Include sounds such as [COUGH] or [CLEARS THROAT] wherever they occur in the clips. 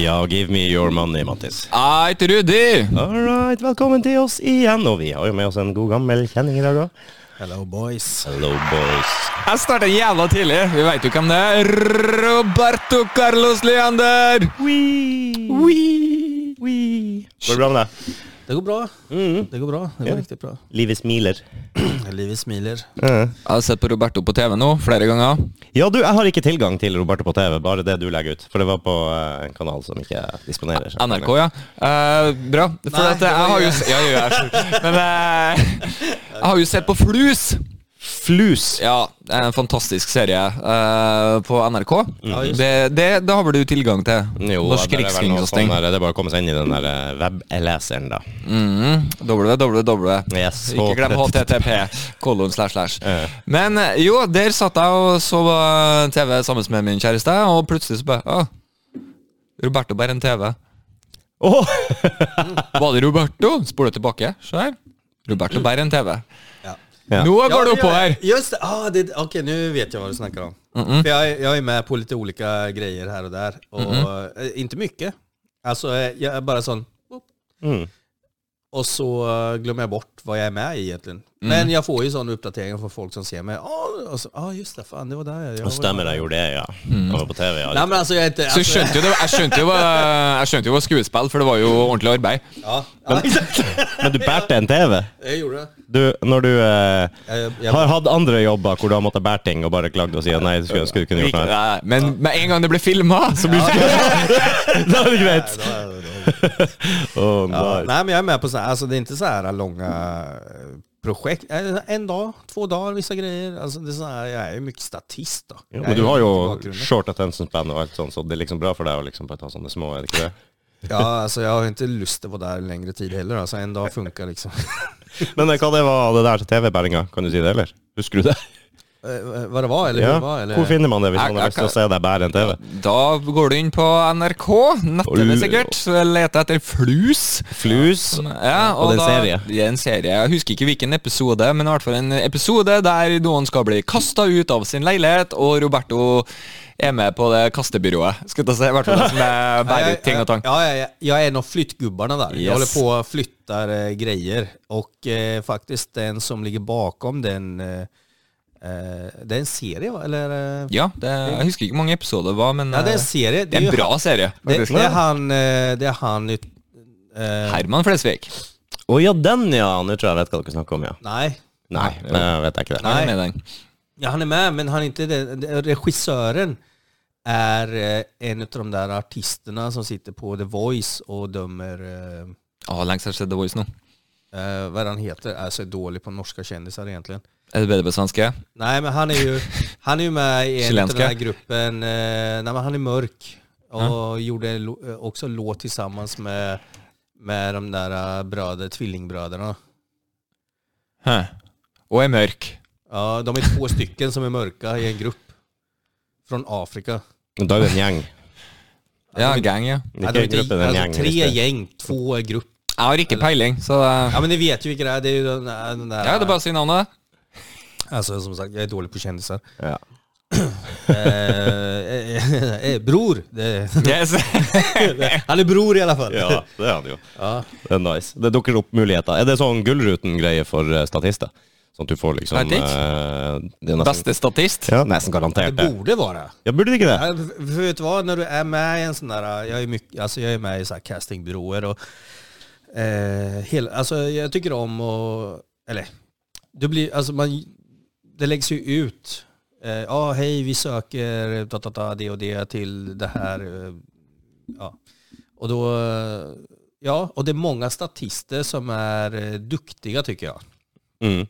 Ja, give me your money, Mattis. Eit, Rudi! All right, velkommen til oss igjen. Og vi har jo med oss en god gammel kjenning i dag òg. Hello, boys. Hello, boys. Jeg starta jævla tidlig. Vi veit jo hvem det er. Roberto Carlos Leander! Wee. Wee. Går det bra med deg? Det går bra. Mm. Det går bra. Det går riktig bra. Livet smiler. Livet smiler. Jeg har sett på Roberto på TV nå flere ganger. Ja, du, jeg har ikke tilgang til Roberto på TV, bare det du legger ut. For det var på eh, en kanal som ikke disponerer. seg. NRK, ja. Eh, bra. For Nei, at jeg, jeg har jo s- Ja, jo, jeg er sjuk. Men eh, jeg har jo sett på Flus. Flus. Ja, det er en fantastisk serie eh, på NRK. Mhm. Det, det, det har vel du tilgang til? Jo, Norsk det er vel noe sånn rikskringkasting. der, det er bare å komme seg inn i den der eh, webleseren, da. Mm, www. Yes, Ikke glem og- HTTP. Kolon slash slash. Ja. Men eh, jo, der satt jeg og så eh, TV sammen med min kjæreste, og plutselig så bare ah, Roberto bærer en TV. [LAUGHS] Åh! Var det Roberto? Spol det tilbake. Se her. Roberto bærer en TV. Ja. Ja. Nå går det det oppover! gör- Just det. Ah, det Okej, nu vet jag vad du snackar om. För jag, jag är med på lite olika grejer här och där. Och, eh, inte mycket. Alltså, eh, jag är bara sån... whoop. Mm. Och så eh, glömmer jag bort vad jag är med i egentligen. Mm. Men jag får ju sådana uppdateringar från folk som ser mig. Ah, och så, ah just det. Fan, det var där jag... jag Og stemmer, jeg gjorde det, ja. Mm. Jeg var på TV, ja. Nej, men alltså jag är inte... Så jeg alltså, skjønte jo det, jeg skjønte jo, hva- jeg skjønte jo hva skuespill, for det var jo ordentlig arbeid. ja, ja, exakt. [LAUGHS] Men du bærte en TV? Jag gjorde det. Du, når du eh, Jag, jag, har hatt andre jobber hvor du har måttet bære ting og bare klagd og si at nei, du skulle, skulle kunne gjort [LAUGHS] noe annet. Nei, Men med en gang det ble filma, så blir det Da er [LAUGHS] det greit. Nej, det var- det var- Oh, Ja, nei. nej men jag är med på sådana, alltså det är inte så här långa eh, projekt. Eh, En dag, två dagar, vissa grejer. Alltså det är så här, jag är ju mycket statist då. Jo, Jag men är du ju har mycket i jo bakgrunden. short attention span og alt sånt, så det er liksom bra for deg å liksom bare ta sånne små, er det ikke det? Ja, alltså jag har inte lust att vara där längre tid heller. Alltså en dag funkar liksom. [LAUGHS] Men eh, hva det var det der til TV-bæringa? Kan du si det, eller? Husker du det? Eh, Vad det var eller [LAUGHS] hur Ja. det var? Eller? Hvor finner man det hvis Jeg- man har jeg lyst til å kan- se deg bære en TV? Da går du inn på NRK, nettene sikkert, så leter jeg etter Flus. Flus. Ja, Og det er en serie. Da, det er en serie. Jeg husker ikke hvilken episode, men i hvert fall en episode der noen skal bli kasta ut av sin leilighet, og Roberto er med på det kastebyrået. Skal jeg ta se, I hvert fall den som er Ja, bærer jag- ut ting og tang. Ja, jag, jag är en av flyttgubbarna där. Yes. Jag håller på och flyttar eh, grejer. Och eh, faktiskt den som ligger bakom den, eh, eh, det är en serie va? Eller? eh, Ja, det, jeg husker ikke hvor mange episoder det var, men Ja, det är en eh, serie. det er ju en bra serie. Det, faktisk. det er han eh, Det er han ut- eh, Herman Flesvig. Å ja, den ja! Nå tror jeg jeg vet hva dere snakker om, ja. Nei. Nei, nei vet jeg ikke det. Han Nei. er med i den. Ja, han er med, men han er ikke det. det- Regissøren er eh, en av de der artistene som sitter på The Voice og dømmer eh, Å, lenge siden jeg har sett The Voice nå. eh, Hva er det han heter? Er så dårlig på norske kjendiser, egentlig. Er det bedre på svenske? Nei, men han er jo, han er jo med i en av Chilenske? den här gruppen eh, Nei, men han er mørk. Og gjorde en lo- eh, også en låt sammen med, med de der eh, bröder, tvillingbrødrene. Hæ. Og er mørk. Ja, de er to stykken som er mørke i en gruppe. Fra Afrika. Da er det en gjeng. Ja, gang, ja. Det Ja, er ikke de en gruppe, det er en gjeng. altså, tre hvis det- gjeng, to grupp. Jeg har ikke peiling, så eh, Ja, men ni vet ju vilka det är. Det är ju den, den där... Ja, det er bare å si navnet. Alltså som sagt, jag är dårlig på kändisar. Ja. eh, [LAUGHS] eh, eh, bror! Det, Yes. [LAUGHS] han är bror i alla fall. ja, det er han jo. Ja. Det er nice. Det dukker opp muligheter. Er det sånn Gullruten-greie for eh, statister? Sånn at du får liksom Jeg vet eh, det er nesten, [LAUGHS] Beste statist. Ja, nesten Det garantert det. borde vara. Ja, burde det ikke det? Ja, för- för vet du vad, när du är med i en sån där, jag är, mycket, alltså jag är med i så här castingbyråer och eh, hela, alltså jag tycker om och, eller, du blir, alltså man, det läggs ju ut, eh, ja hej vi söker ta, ta, ta, det och det till det här, eh, ja. Och då, eh, ja, och det är många statister som är eh, duktiga tycker jag. Mm.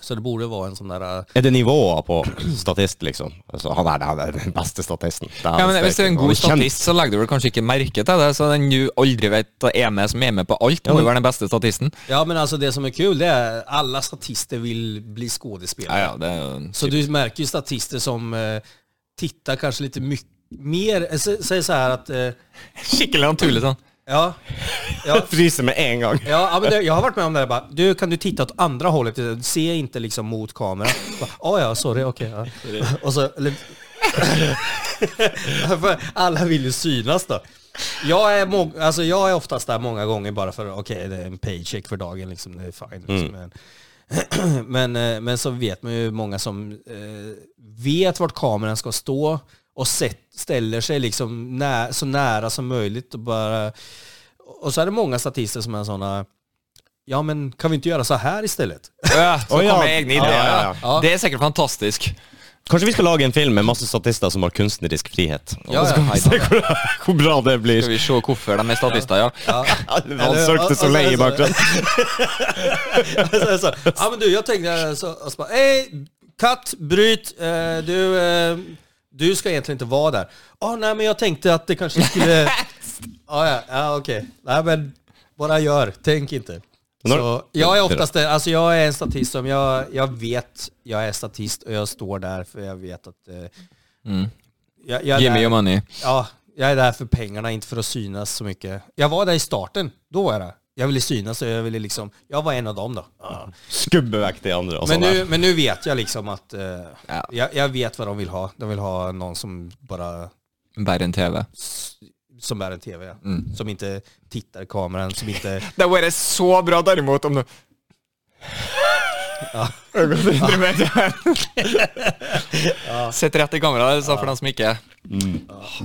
Så det borde vara en sån där... eh, Er det nivåer på statist, liksom? Altså, han, er, han er den beste statisten. Det er Ja, men han Hvis det er en steken. Han god kjent. statist, så legger du vel kanskje ikke merke til det. Så den du aldri vet er med, som er med på alt, må jo være den beste statisten. Ja men alltså det som är kul det är alla statister vill bli skådespelare. Ja, ja, det er jo en Så du märker ju statister som eh, tittar kanske lite mycket mer, eh, sä- säg så här att, eh, [LAUGHS] skikkelig naturlig sånn. ja, ja, Fryser med en gang. Ja, ja, men det, jag har varit med om det här, bara, du kan du titta åt andra hållet, se inte liksom mot kameran. Bara, Ja, ja, sorry, okej. ja. Och så, eller, [LAUGHS] för alla vill ju synas då. Jag är, må, alltså jag är oftast där många gånger bara för okej, det är en paycheck för dagen, liksom, det är fine. Mm. Liksom. [CLEARS THROAT] Men, men, eh, men så vet man ju många som eh, vet vart kameran ska stå och sett, ställer sig liksom nä, så nära som möjligt och bara och så är det många statister som är sådana, ja men kan vi inte göra så här istället? Ja, så Å, ja. kommer egne Ja, ideer. ja, ja. ja. Det er sikkert fantastisk. Kanskje vi skal lage en film med masse statister som har kunstnerisk frihet? Ja, ja. Hei, da. Hvor, [LAUGHS] hvor bra det blir. Skal vi se hvorfor de er statister, ja. Han søkte så lei i bakgrunnen. [LAUGHS] Så- så, ja men du, jag tänkte så, och så bara, hej, katt, bryt, eh, du, eh, du ska egentligen inte vara där. Ja, nej men jag tänkte att det kanske skulle... ja, ja, ja okej. Nej men, bara gör, tänk inte. Når- Så, jag är oftast en- alltså jag är Altså, en statist som jag, jag vet, jag är statist och jag står där för jag vet att... Eh, jag, jag är Give där- me your money. Ja, jag är där för pengarna, inte för att synas så mycket. Jag var där i starten, då var jag där. Jag ville synas och jag ville liksom, jag var en av dem då. Skubbe vekk de andre. Og Men, sånn nu, der. men nu vet jag liksom att, eh, Ja. jag, jag vet vad de vill ha. De vill ha någon som bara, Bære en TV. som är en tv, ja. som inte tittar i kameran, som inte... Det hadde vært så bra derimot om du [LAUGHS] Sitt rett i kameraet, sa for dem som ikke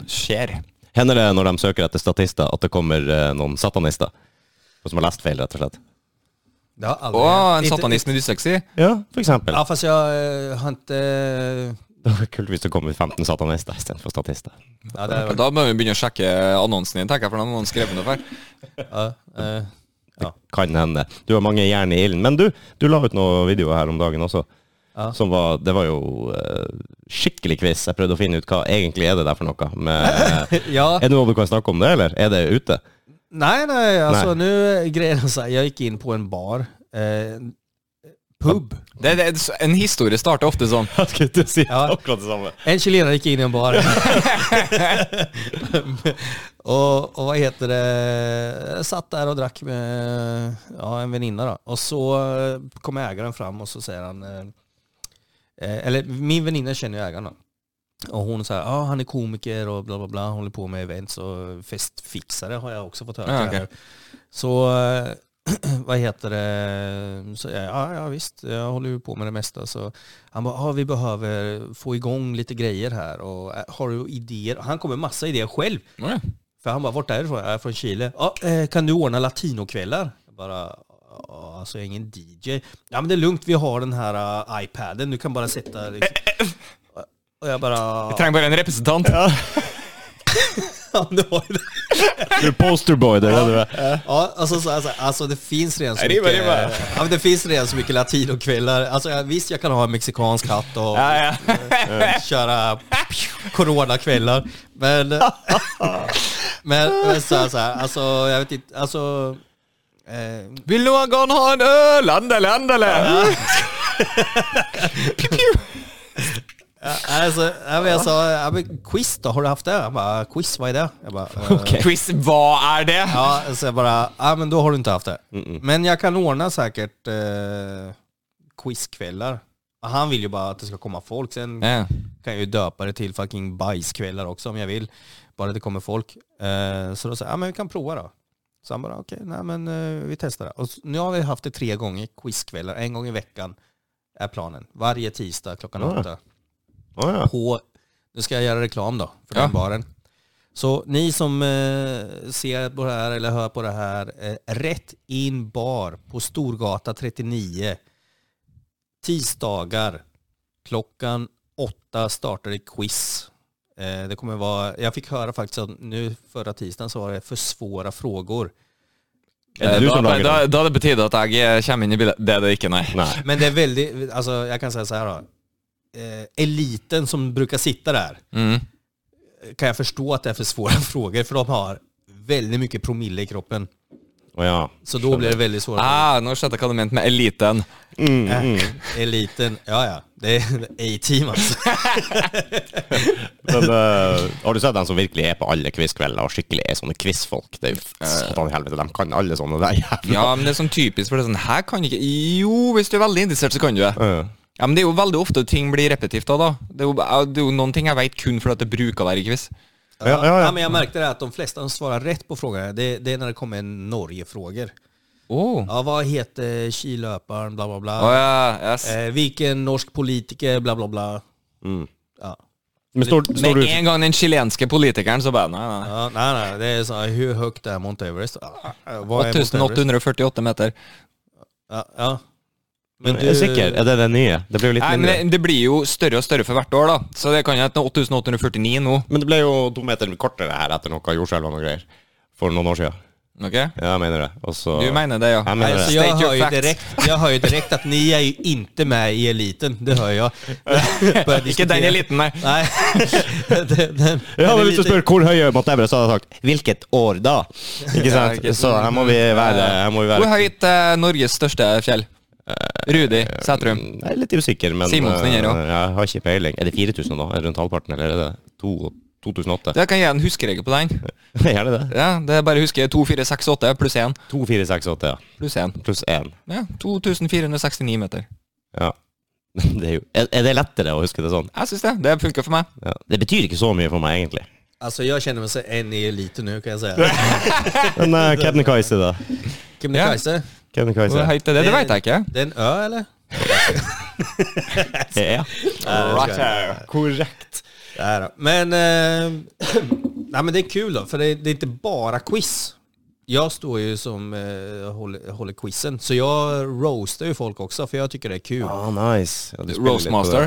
Skjer. Hender det når de søker etter statister, at det kommer eh, noen satanister? Som har lest feil, rett og slett? Det har aldrig Å, hänt. en Inte- satanist med dysleksi? Ja, [LAUGHS] for eksempel. Ja, fast jag eh, har inte... Det var kult hvis det kom ut 15 satanister istedenfor statister. Ja, det, har- Da må vi begynne å sjekke annonsen din, tenker jeg, for da må noen skrevet noe feil. ja, eh, Kan hende. Du har mange jern i ilden. Men du, du la ut noen videoer her om dagen også. Ja. Som var, det var jo eh, skikkelig quiz. Jeg prøvde å finne ut hva egentlig er det der for noe. Men, eh, ja. er det noe du kan snakke om det, eller? Er det ute? Nej, nej, alltså nu är grejen så här, jag gick in på en bar, eh, pub. Det, det, en historie starter ofte sånn. Jeg skulle til å si Ja. akkurat det samme. En chilenare gick in i en bar. [LAUGHS] och, och vad heter det, jag satt där och drack med ja, en väninna då. Och så eh, kom ägaren fram och så säger han, eh, eh, eller min väninna känner ju ägaren då. Och hon säger, ja ah, han är komiker och bla bla bla, håller på med events och festfixare har jag också fått höra. Ja, till okej. här. Så eh, [CLEARS THROAT] vad heter det, så jag, ja, ja visst, jag håller ju på med det mesta. Så han bara, ah, vi behöver få igång lite grejer här och eh, har du idéer? Han kommer med massa idéer själv. Ja. För han bara, vart är du ifrån? Jag är från Chile. Ja, eh, kan du ordna latinokvällar? Jag bara, "Ja, alltså jag är ingen DJ. Ja men det är lugnt, vi har den här eh, iPaden, du kan bara sätta... Liksom. Och jag bara... Trenger bare en representant. Ja, det var ju det. Du er posterboy, det er det du er. Ja, alltså, så, alltså, alltså det finns redan så Arriba, mycket... eh, arriba. Ja, men det finns redan så mycket latinokvällar. Alltså jag- visst, jag kan ha en mexikansk hatt och eh, Ja, ja. köra coronakvällar. Men, [LAUGHS] men, men så, här, så här, alltså jag vet inte, alltså... Eh, [LAUGHS] Vil noen ha en øl? Endelig, endelig! Ja, Alltså, ja, men jag sa, ja, men altså, quiz då, har du haft det? Han bara, quiz vad är det? Jag bara, eh, Quiz, hva er det? ja, så jag bara, ja men då har du inte haft det. Men jag kan ordna säkert eh, quizkvällar. Och Han vill ju bara att det ska komma folk, sen Ja. kan jag ju döpa det till fucking bajskvällar också om jag vill. Bara det kommer folk. Eh, så då sa jag, ja men vi kan prova då. Så han bara, okej, nej men eh, vi testar det. Och s- nu har vi haft det tre gånger, quizkvällar, en gång i veckan är planen. Varje tisdag klockan Ja. åtta Å ja. på, nu ska jag göra reklam då för Ja. den baren. Så ni som eh, ser på det här eller hör på det här, eh, Rätt In Bar på Storgata 39. Tisdagar klockan åtta startar det quiz. Eh, det kommer vara, jag fick höra faktiskt att nu förra tisdagen så var det för svåra frågor. Er det du da, som lager da, den? da er det på tide at jeg eh, kommer inn i bildet. Det er det ikke, nei. Nei. Men det är väldigt, alltså jag kan säga så här då. Eh, eliten som brukar sitta där, Mm. kan jag förstå att det är för svåra [LAUGHS] frågor, för de har väldigt mycket promille i kroppen. Å ja. Så då blir det väldigt svåra Ah, nå skjønte jeg hva du mente med eliten. Mm, frågor. mm. Eh, Eliten, ja ja, det är [LAUGHS] A-team alltså. Men, eh, har du sett dem som virkelig er på alle quizkvelder og skikkelig er sånne quizfolk? Det er jo satan i helvete, de kan alle sånne der jævla Eh. Ja, men det er sånn typisk, for det er sånn Her kan ikke Jo, hvis du er veldig interessert, så kan du det. Ja. Ja, men det er jo veldig ofte ting blir repetitivt av, da. Det er jo, eh, det er jo noen ting jeg veit kun fordi at det bruker å være i quiz. Ja, ja, ja. men jag märkte det att de flesta som svarar rätt på frågan, det, det är när det kommer Norge-frågor. Oh. Ja, vad heter skilöparen, bla bla bla. ja, yes. Eh, vilken norsk politiker, bla bla bla. Mm. Ja. Men står, står Med du en gang den chilenske politikeren, så bare Nei, nei. sånn, Ja, nej, nej, det är så här, hur högt är Mount Everest? Ah, ah, Vad är Mount Everest? 8848 meter. Ja, ja. Men du er sikker? Er det det nye? Det ble jo litt Nei, men mindre. det, det blir jo større og større for hvert år, da. Så det kan jo hete 8849 nå. Men det ble jo to meter kortere her etter noe jordskjelv og noe greier. For noen år siden. Ok? Ja, jeg mener det. Og så Du mener det, ja. Jeg Nej, mener så det. jag, State your hör ju facts. direkt, jag hör ju direkt att ni är ju inte med i eliten, det [LAUGHS] hör jag. Börjar Ikke diskutera. den eliten, nei. [LAUGHS] Nej. den, den, Jeg hadde lyst til den å eliten- spørre hvor høy er Mount Everest, så hadde jeg sagt 'hvilket år [LAUGHS] da'? Ikke Ja, sant? ikke sant. Så her må vi være, her må vi Hvor være høyt er Norges største fjell? Rudi Sætrum. Jeg er litt usikker, men Simonsen eh, er her også. jeg har ikke peiling. Er det 4000 nå? Er det rundt halvparten, eller er det to- 2008? Det kan jeg gi en huskeregel på den. Gjerne det. Ja, det er bare å huske 2468 pluss 1. 2468, ja. Pluss 1. Pluss én. Ja, 2469 meter. Ja. [LAUGHS] Det er, jo, er, er det lettere å huske det sånn? Jeg syns det. Det funker for meg. Ja. Det betyr ikke så mye for meg, egentlig. Alltså jag känner mig som en i eliten nu kan jag säga. Men uh, Kebnekaise, da? Kebnekaise, Hvor Kebnekaise. høyt er det? Det veit jeg ikke. det är en ö eller? Ja. Right Korrekt. Nej då. Men, eh, [CLEARS THROAT] nej, men det är kul då, för det, det är inte bara quiz. Jag står ju som eh, håller, håller quizen, så jag roastar ju folk også, for jeg tycker det er kul. Ah, nice. Ja, du spiller litt på Roastmaster.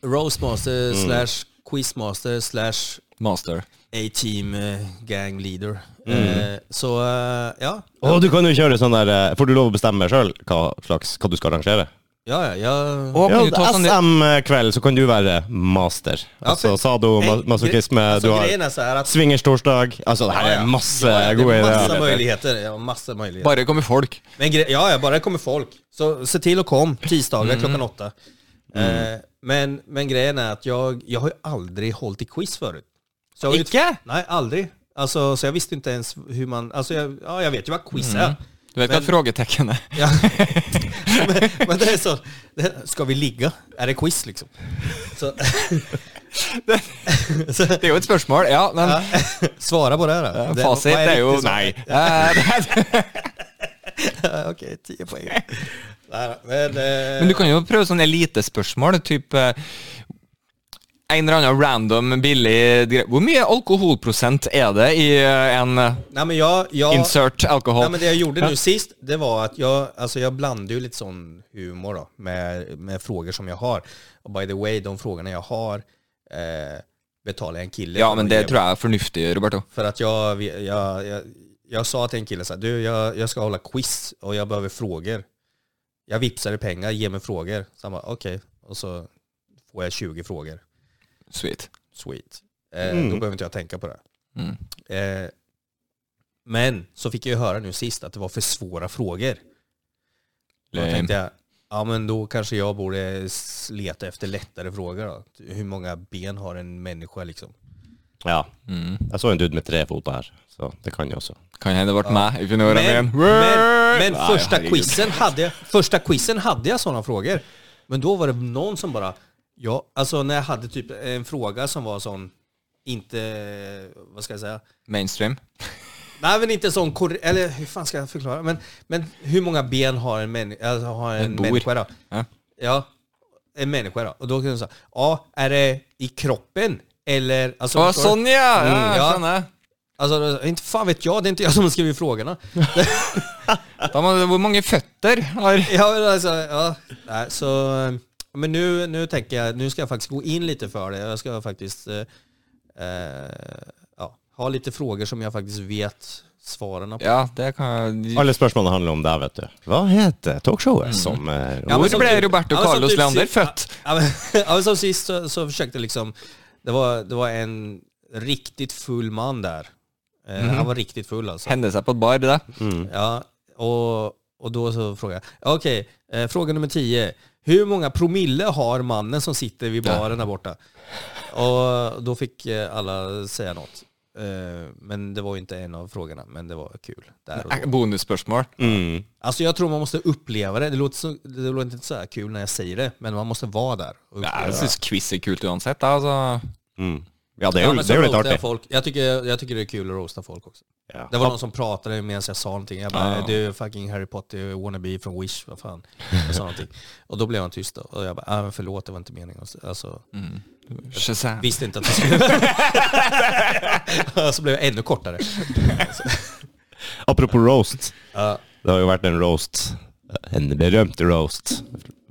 det. Roastmaster slash quizmaster slash Master. A-team eh, gang leader. Eh, så eh, ja. Å, du kan jo kjøre sånn der eh, Får du lov å bestemme sjøl hva slags Hva du skal arrangere? Ja, ja, ja. Og Ja, altså- kan du ta sånn SM-kveld, så kan du være master. Altså for- sadomasochisme, Alltså, du har grejen är eh, så här att swingerstorsdag Altså, det her er masse altså, ja, det gode är massa ideer. möjligheter. Ja, massa möjligheter. Bare kommer folk. Men gre- ja, ja, bara det kommer folk. Så se till att kom tisdagar klockan åtta. Eh, men, men grejen är att jag, jag har ju aldrig hållit i quiz förut. Så jag har ju- Ikke? Nej, aldrig. Alltså, så jag visste inte ens hur man... Alltså, jag, ja, jag vet ju vad quiz är. Mm. Du vet hva et frågetecken er? Ja. [LAUGHS] men, men det är så, det, ska vi ligga? Är det quiz liksom? Så, [LAUGHS] Det er jo et spørsmål, ja. Men ja, svara på det här. då. Det- fasit vad er jo riktigt svar? nei. Eh, det er- Ja, Okej, 10 poäng. Nej, då, men, eh, Men du kan jo prøve sånne elitespørsmål, type en eller annen random, billig greie. Hvor mye alkoholprosent er det i eh, en eh, nej, men jag, jag, insert nej, alkohol? men det jag gjorde nu sist, det var altså, att jag, alltså jag blandade ju lite sån sånn humor då, med, med frågor som jag har. Och by the way, de frågorna jag har eh, betalar jag en kille. Ja, för men att det ge- tror jeg er fornuftig, Roberto. För att jag, jag, jag, jag sa till en kille så här, du jag, jag ska hålla quiz och jag behöver frågor. Jag vipsade pengar, ge mig frågor. Så han bara okej, och så får jag 20 frågor. Sweet. Sweet. Eh, Mm. Då behöver inte jag tänka på det. Mm. Eh, men så fick jag ju höra nu sist att det var för svåra frågor. Då Lame. tänkte jag, ja men då kanske jag borde s- leta efter lättare frågor då. Hur många ben har en människa liksom? Ja. Mm. Jeg så en dude med tre foter her, så det kan jo også. Kan hende det ble meg. if you know what I Men, mean. men, men Nei, första, herregud. quizen hade, jag- första quizen hade jag sådana frågor. Men då var det någon som bara, ja, alltså när jag hade typ en fråga som var sån, inte, vad ska jag säga? Mainstream. Nej men inte sån, korre- eller hur fan ska jag förklara? Men, men hur många ben har en, männi- alltså, har en, En bor. människa då? Ja. Ja, en människa då. Och då kunde jag säga, ja, är det i kroppen? Eller, alltså, Å, förstår du? sånn, ja! ja Mm, ja. jeg skjønner. alltså, inte fan vet jag, det är inte jag som har skrivit frågorna. Da må, hvor mange føtter har [LAUGHS] Ja, men alltså, ja. Nej, så, eh, men nu, nu tänker jag, nu ska jag faktiskt gå in lite för det. Jag ska faktiskt eh, eh, ja, ha lite frågor som jag faktiskt vet svaren på. Ja, det kan Alle spørsmålene handler om deg, vet du. Hva heter talkshowet som eh, Ja, men Hvor som ble typ- Roberto ja, men som Carlos typ Leander sist- født? Ja, men, [LAUGHS] ja, men som sist så, så försökte liksom, det var, det var en riktigt full man der. Eh, Han var riktigt full alltså. hende seg på et bar. det Ja, och, och då så frågade jag, okej, eh, fråga nummer 10. Hur många promille har mannen som sitter vid baren där borta? Och då fick eh, alla säga något. Eh, Men det var ju inte en av frågorna, men det var kul. Där och då. Eh, Bonusspørsmål. mm. Alltså jag tror man måste uppleva det. Det låter, så, det låter inte så här kul när jag säger det, men man måste vara där. och Nei, uppleva jeg det. syns quiz er kult uansett. da, Altså. Mm. ja, det er Ja, jo, men det er så jo litt roastar artig. jag folk. Jag tycker, jag tycker det är kul att roasta folk också. Ja. Det var någon som pratade medan jag sa någonting. Jag bara, Ja. du är fucking Harry Potter wannabe från Wish, vad fan. Jag sa någonting. Och då blev han tyst då. Och jag bara, ah, men förlåt, det var inte meningen. Och så- Alltså, Shazam. visste inte att det skulle... [LAUGHS] Och så blev jag ännu kortare. Apropos roast. Ja. Det har jo vært en roast, en berømt roast,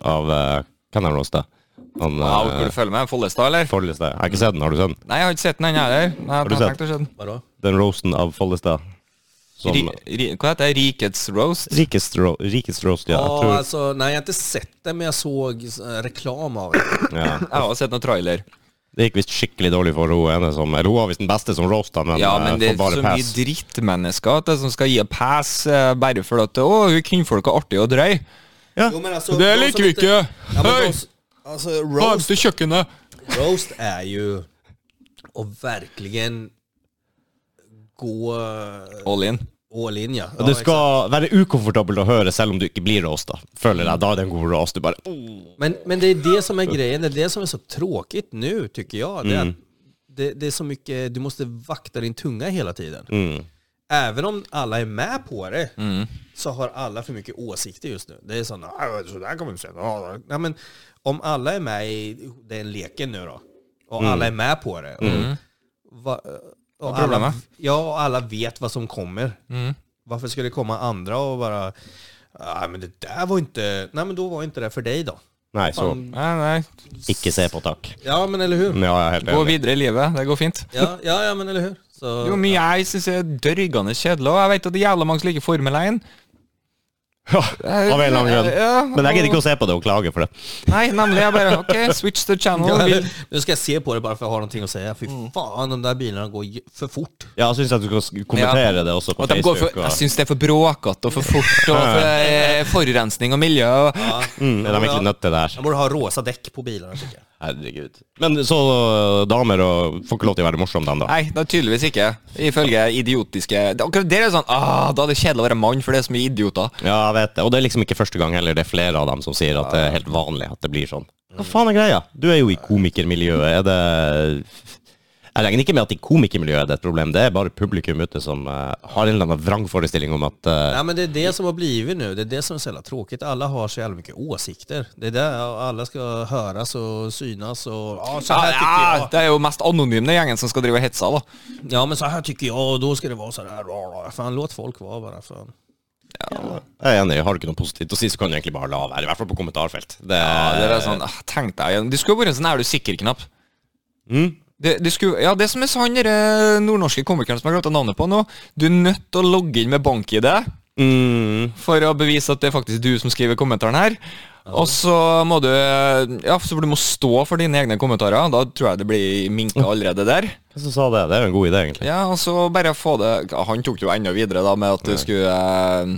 av eh, Hvem har roasta? Han Ja, hvor uh, du følger med? Follestad, eller? Follestad. Jeg har ikke sett den, har du sett den? Nei, jeg har ikke sett den ennå heller. Jeg du har sett? Sånn- tenkt å se den. Vadå? Den roasten av Follestad. Som Ri, ri, hva heter det? Rikets roast? rikest, ro, rikest roast, ja. Ja, Jeg tror, alltså, nej, jag har inte sett det, men jag såg eh, reklam av det. ja. Jeg har sett noen trailer. Det gikk visst skikkelig dårlig for hun ene som Eller hun var visst den beste som roasta, men, Ja, men det får er bare så mye pass. drittmennesker at det som skal gi pass eh, bare for at Å, hun kvinnfolk er artig og drøy. Ja. Jo, men alltså, Det de liker som vi inte- ikke! Ja, men Hei! de s- Alltså, roast Varmeste kjøkkenet! Roast är ju att verkligen gå All in. all in ja. Det skal være ukomfortabelt å høre selv om du ikke blir roasta. Føler jeg da er det en god roast. Du bare oh, exakt. men, men det är det som är grejen, det är det som är så tråkigt nu tycker jag. Det är, att det, det är så mycket, du måste vakta din tunga hela tiden. Även om alla är med på det så har alla för mycket åsikter just nu. Det är sådana, "Ah, så där kommer vi säga. Nej, men om alla är med i den leken nu då, och alla är med på det. Och, va, eh, och är alla, problemet? ja, och alla vet vad som kommer. Varför skulle det komma andra och bara, nej men det där var inte, nej men då var inte det for deg då. Nei, så Fan. Nei, nei. ikke se på, takk. Ja men eller hur? Ja, jeg er helt Gå enig. videre i livet. Det går fint. Ja, ja, ja men eller hur? Så, Jo, mye jeg syns er dørgende kjedelig. Og jeg vet at det er jævla mange som liker Formel 1. [LAUGHS] Ja, av en eller annen grunn. Ja, Men jeg gidder ikke og- å se på det og klage for det. Nei, nemlig. Jeg bare OK, switch the channel. [LAUGHS] Ja, Mm. Vi- nu ska jag se på det bara för att ha någonting att säga. Fy fan, de där bilarna går ju for fort. Ja, jeg syns at du skal kommentere Ja. det også på Og de går for, Facebook. jeg Og, syns det er for bråkete og for fort, og for eh, forurensning og miljø. Og, mm, er de Ja. egentlig nødt til det her? De borde ha rosa däck på bilarna tycker jag. Herregud. Men så damer og får ikke lov til å være morsomme, dem da. nei, det er tydeligvis ikke. Ifølge idiotiske det- Akkurat der er det sånn ah, Da er det kjedelig å være mann, for det er så mye idioter. Ja, jeg vet det. Og det er liksom ikke første gang heller. Det er flere av dem som sier at det er helt vanlig at det blir sånn. Hva faen er greia? Du er jo i komikermiljøet. Er det Jeg regner ikke med at i komikermiljøet er det et problem. Det er bare publikum ute som eh, har en eller annen vrangforestilling om at eh, Ja, men det är det som har blivit nu. Det är det som är så jävla tråkigt. Alla har så jävla mycket åsikter. Det är där och alla ska høres og synas og ja, så här tycker Ja, jag. det er jo mest anonyme gjengen som skal drive og hetse, da. Ja, men så här tycker jag och då ska det vara så här. Rå, rå. Fan, låt folk vara bara. Fan. Jeg er enig, har du ikke noe positivt å si, så kan du egentlig bare la være. I hvert fall på kommentarfelt. Det, Ja, det er sånn, ah, tenk deg igjen. Det skulle vært en sånn 'er du sikker'-knapp. Det, det skulle, ja, det som er så han derre nordnorske komikeren som jeg glemte navnet på nå Du er nødt til å logge inn med bank-ID mm, for å bevise at det er faktisk du som skriver kommentaren her. Og så må du Ja, så du må stå for dine egne kommentarer. Da tror jeg det blir minka allerede der. Hvem som sa det? Det er jo en god idé, egentlig. Ja, og så bare få det ja, Han tok det jo enda videre da med at det skulle eh,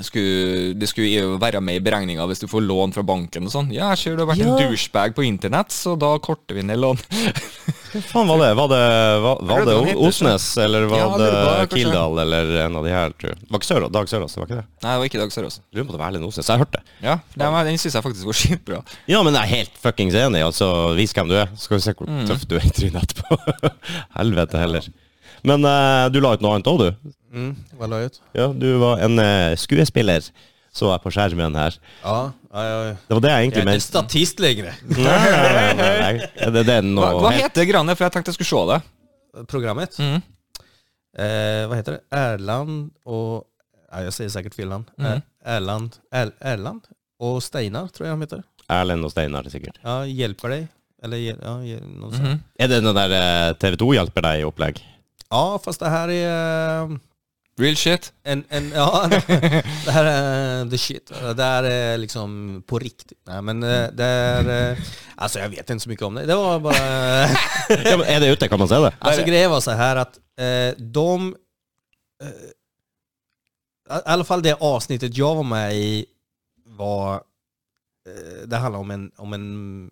skulle, det skulle jo være med i beregninga hvis du får lån fra banken og sånn. Ja, jeg ser du har vært Ja. en douchebag på internett, så da korter vi ned lån. [LAUGHS] Hva faen var det? Var det, var, var det Jeg lurer på hva han heter, Osnes, eller var Ja, jeg lurer på det, det kanskje. Kildahl, eller en av de her, tror jeg. Det var ikke Sørås, Dag Sørås, det var ikke det? Nei, det var ikke Dag Sørås. Lurer på om det var Erlend Osnes, jeg hørte det. Ja, nei, men den syns jeg faktisk var skitbra. Ja, men jeg er helt fuckings enig, altså, vis hvem du er, så skal vi se hvor tøff du er i trynet etterpå. [LAUGHS] Helvete heller. Men eh, du la ut noe annet også, du. Mm, vad la jag ut? Ja, du var en eh, skuespiller, så jeg på skjermen her. Ja, ja, ja, ja. Det var det jeg Jag är egentlig inte mente. statist längre. [LAUGHS] Nei, nei, nei, nei. Er det, det er noe Hva, hva helt- heter Granet? For jeg tenkte jeg skulle se det. Programmet. Mm. Eh, vad heter det? Erland och... Ja, jag säger säkert fel namn. Eh, Erland, er, Erland och Steinar tror jag han heter. Erlend og Steinar, sikkert. Ja, hjälper dig. Eller hjäl- ja, hjäl- någon Mm-hmm. sån. mm. eh, Er det den der TV 2 hjelper deg i opplegg? ja, fast det här är... eh, Real shit. En, en, ja, [LAUGHS] det här är eh, the shit. Det här är liksom på riktigt. Nej, men eh, det är... eh, Alltså jag vet inte så mycket om det. Det var bara... Ja, men er det ute? Kan man se det? Alltså grejen var så här att eh, de... Eh, I alla fall det avsnittet jag var med i var... Eh, det handlar om en, om en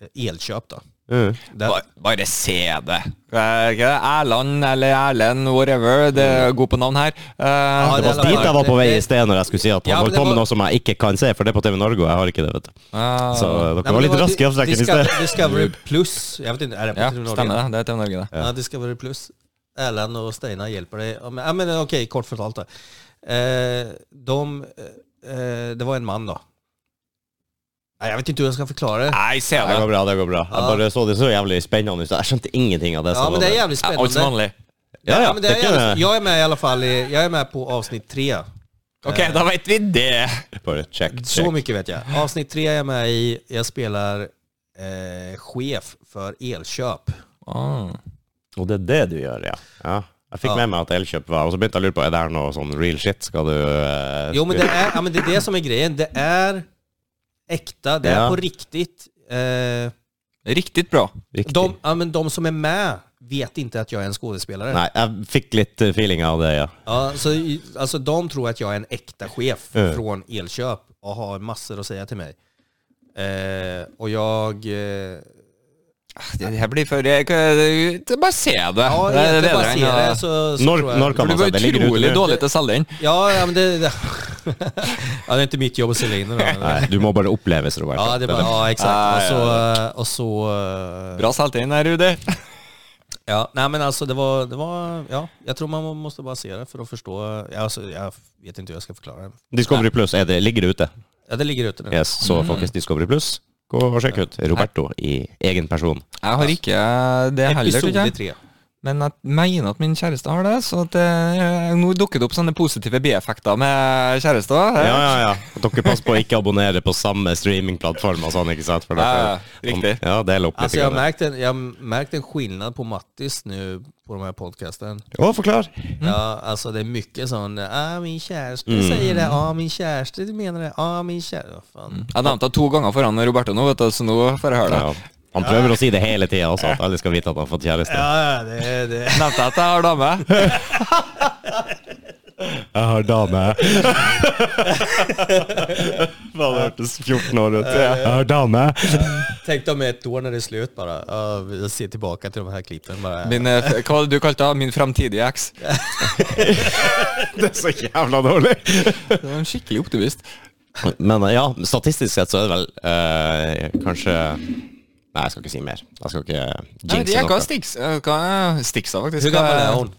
eh, elköp då. Mm. Där, Bare, bare se det. Eh, ikke det? Erland eller Erlend, whatever. Det er god på navn her. Eh, Ja, Det det var dit jeg var på vei i sted når jeg skulle si at han Ja, men holdt det på med var- noe som jeg ikke kan se, for det er på TV Norge, og jeg har ikke det, vet du. Ah. Så Nej, dere men var det litt raske i avstrekken i Discovery, sted. Discovery Plus. Jag vet inte, är det på ja, TV Norge? stemmer det. Det er TV Norge, det. Ja, Discovery Plus. Erland och Steina hjälper dig. Ja, men, ja, men okej, kort förtalt då. Eh, de, eh, det var en man då. Nej, Jag vet inte hur jag ska förklara det. Nei, se Det det. går bra, det går bra. Jeg Ja. bare så det så jævlig spennende ut. Jeg skjønte ingenting av det Ja, som men var det är der. jävligt Alt som spännande. vanlig. Ja, ja, Ja, men det det är er jävligt, ikke jag är med i alla fall i, jag är med på avsnitt tre. Ok, da vet vi det. Bare check, Så check. mycket vet jag. Avsnitt tre är jag med i. Jag spelar eh, chef för elköp. Ah. Og det er det du gjør, ja. ja. Jeg fikk Ja. med meg at Elkjøp var Og så begynte jeg å lure på er det her noe sånn real shit. Skal du eh, Jo, men det är, ja, men det är det som är grejen. Det är äkta, det är Ja. på riktigt. Eh, Riktig bra. Riktig. De, ja, men de som är med vet inte att jag är en skådespelare. Nei, jeg fikk litt eh, feeling av det, ja. Ja, så, i- alltså, de tror att jag är en äkta chef Mm. från Elköp och har massor att säga till mig. Eh, och jag... Eh, Det her blir for jeg, jeg, Bare se det. ja, det, er egentligen bedre enn å- baserar jag så, så Når, tror jag- når kan For man du se det? var Det ligger utrolig ute nå. dårlig til å selge den. Ja, ja, men det... det ja, det är inte mitt jobb att sälja in den. Nei, du må bare oppleves, Robert. Ja, det är bara, ja, Ah, exakt. Och så... ja. eh, Och så eh, Bra solgt inn her, Rudi. Ja, nej men alltså det var, det var, ja, jag tror man måste bara se det för att förstå. Ja, Alltså, jag vet inte hur jag ska förklara det. Discovery Plus er det, ligger det ute. Ja, det ligger ute nu. Yes, så folkens, Discovery Plus, gå og sjekk ut Roberto i egen person. Jeg har ikke det heller, tror Episode jeg. tre. Men jeg mener at min kjæreste har det. Så at, eh, nå dukker det opp sånne positive bieffekter med kjærester. Ja, ja, ja. Og dere passer på å ikke abonnere på samme streamingplattform og sånn, ikke sant? For Ja, dere, ja, riktig. Ja, del opp litt. Alltså jag Altså, har grann. märkt en, jag har märkt en skillnad på Mattis nu på de här podcasten. Å, forklar! Ja, alltså det är mycket sån, ah min kärste säger det, ah min kärste menar det, ah min kärste. Vad fan. Jeg nevnte det to ganger foran Roberto nå, vet du, så nå får jeg høre det. Ja. Han prøver å si det hele tida også, at alle skal vite at han har fått kjæreste. Ja, ja, det, det. Nevnte jeg at jeg har [LAUGHS] dame? Jeg har dame. [LAUGHS] Faen, det hørtes 14 år ut. Jeg har dame. Tänk om ett år när det är slut bara, ja, jag ser tillbaka till de här klippen bara. Min, eh, f- hva var det du kalte det? Min framtidige eks? [LAUGHS] Det er så jævla dårlig. Det var en Skikkelig optimist. Men eh, ja, statistisk sett så er det vel eh, kanskje Nei, jeg skal ikke si mer. Jeg skal ikke Jeg vet jinxe ikke hva noe. Stix eh, hva er Stix da, faktisk. Hur gammal är hon?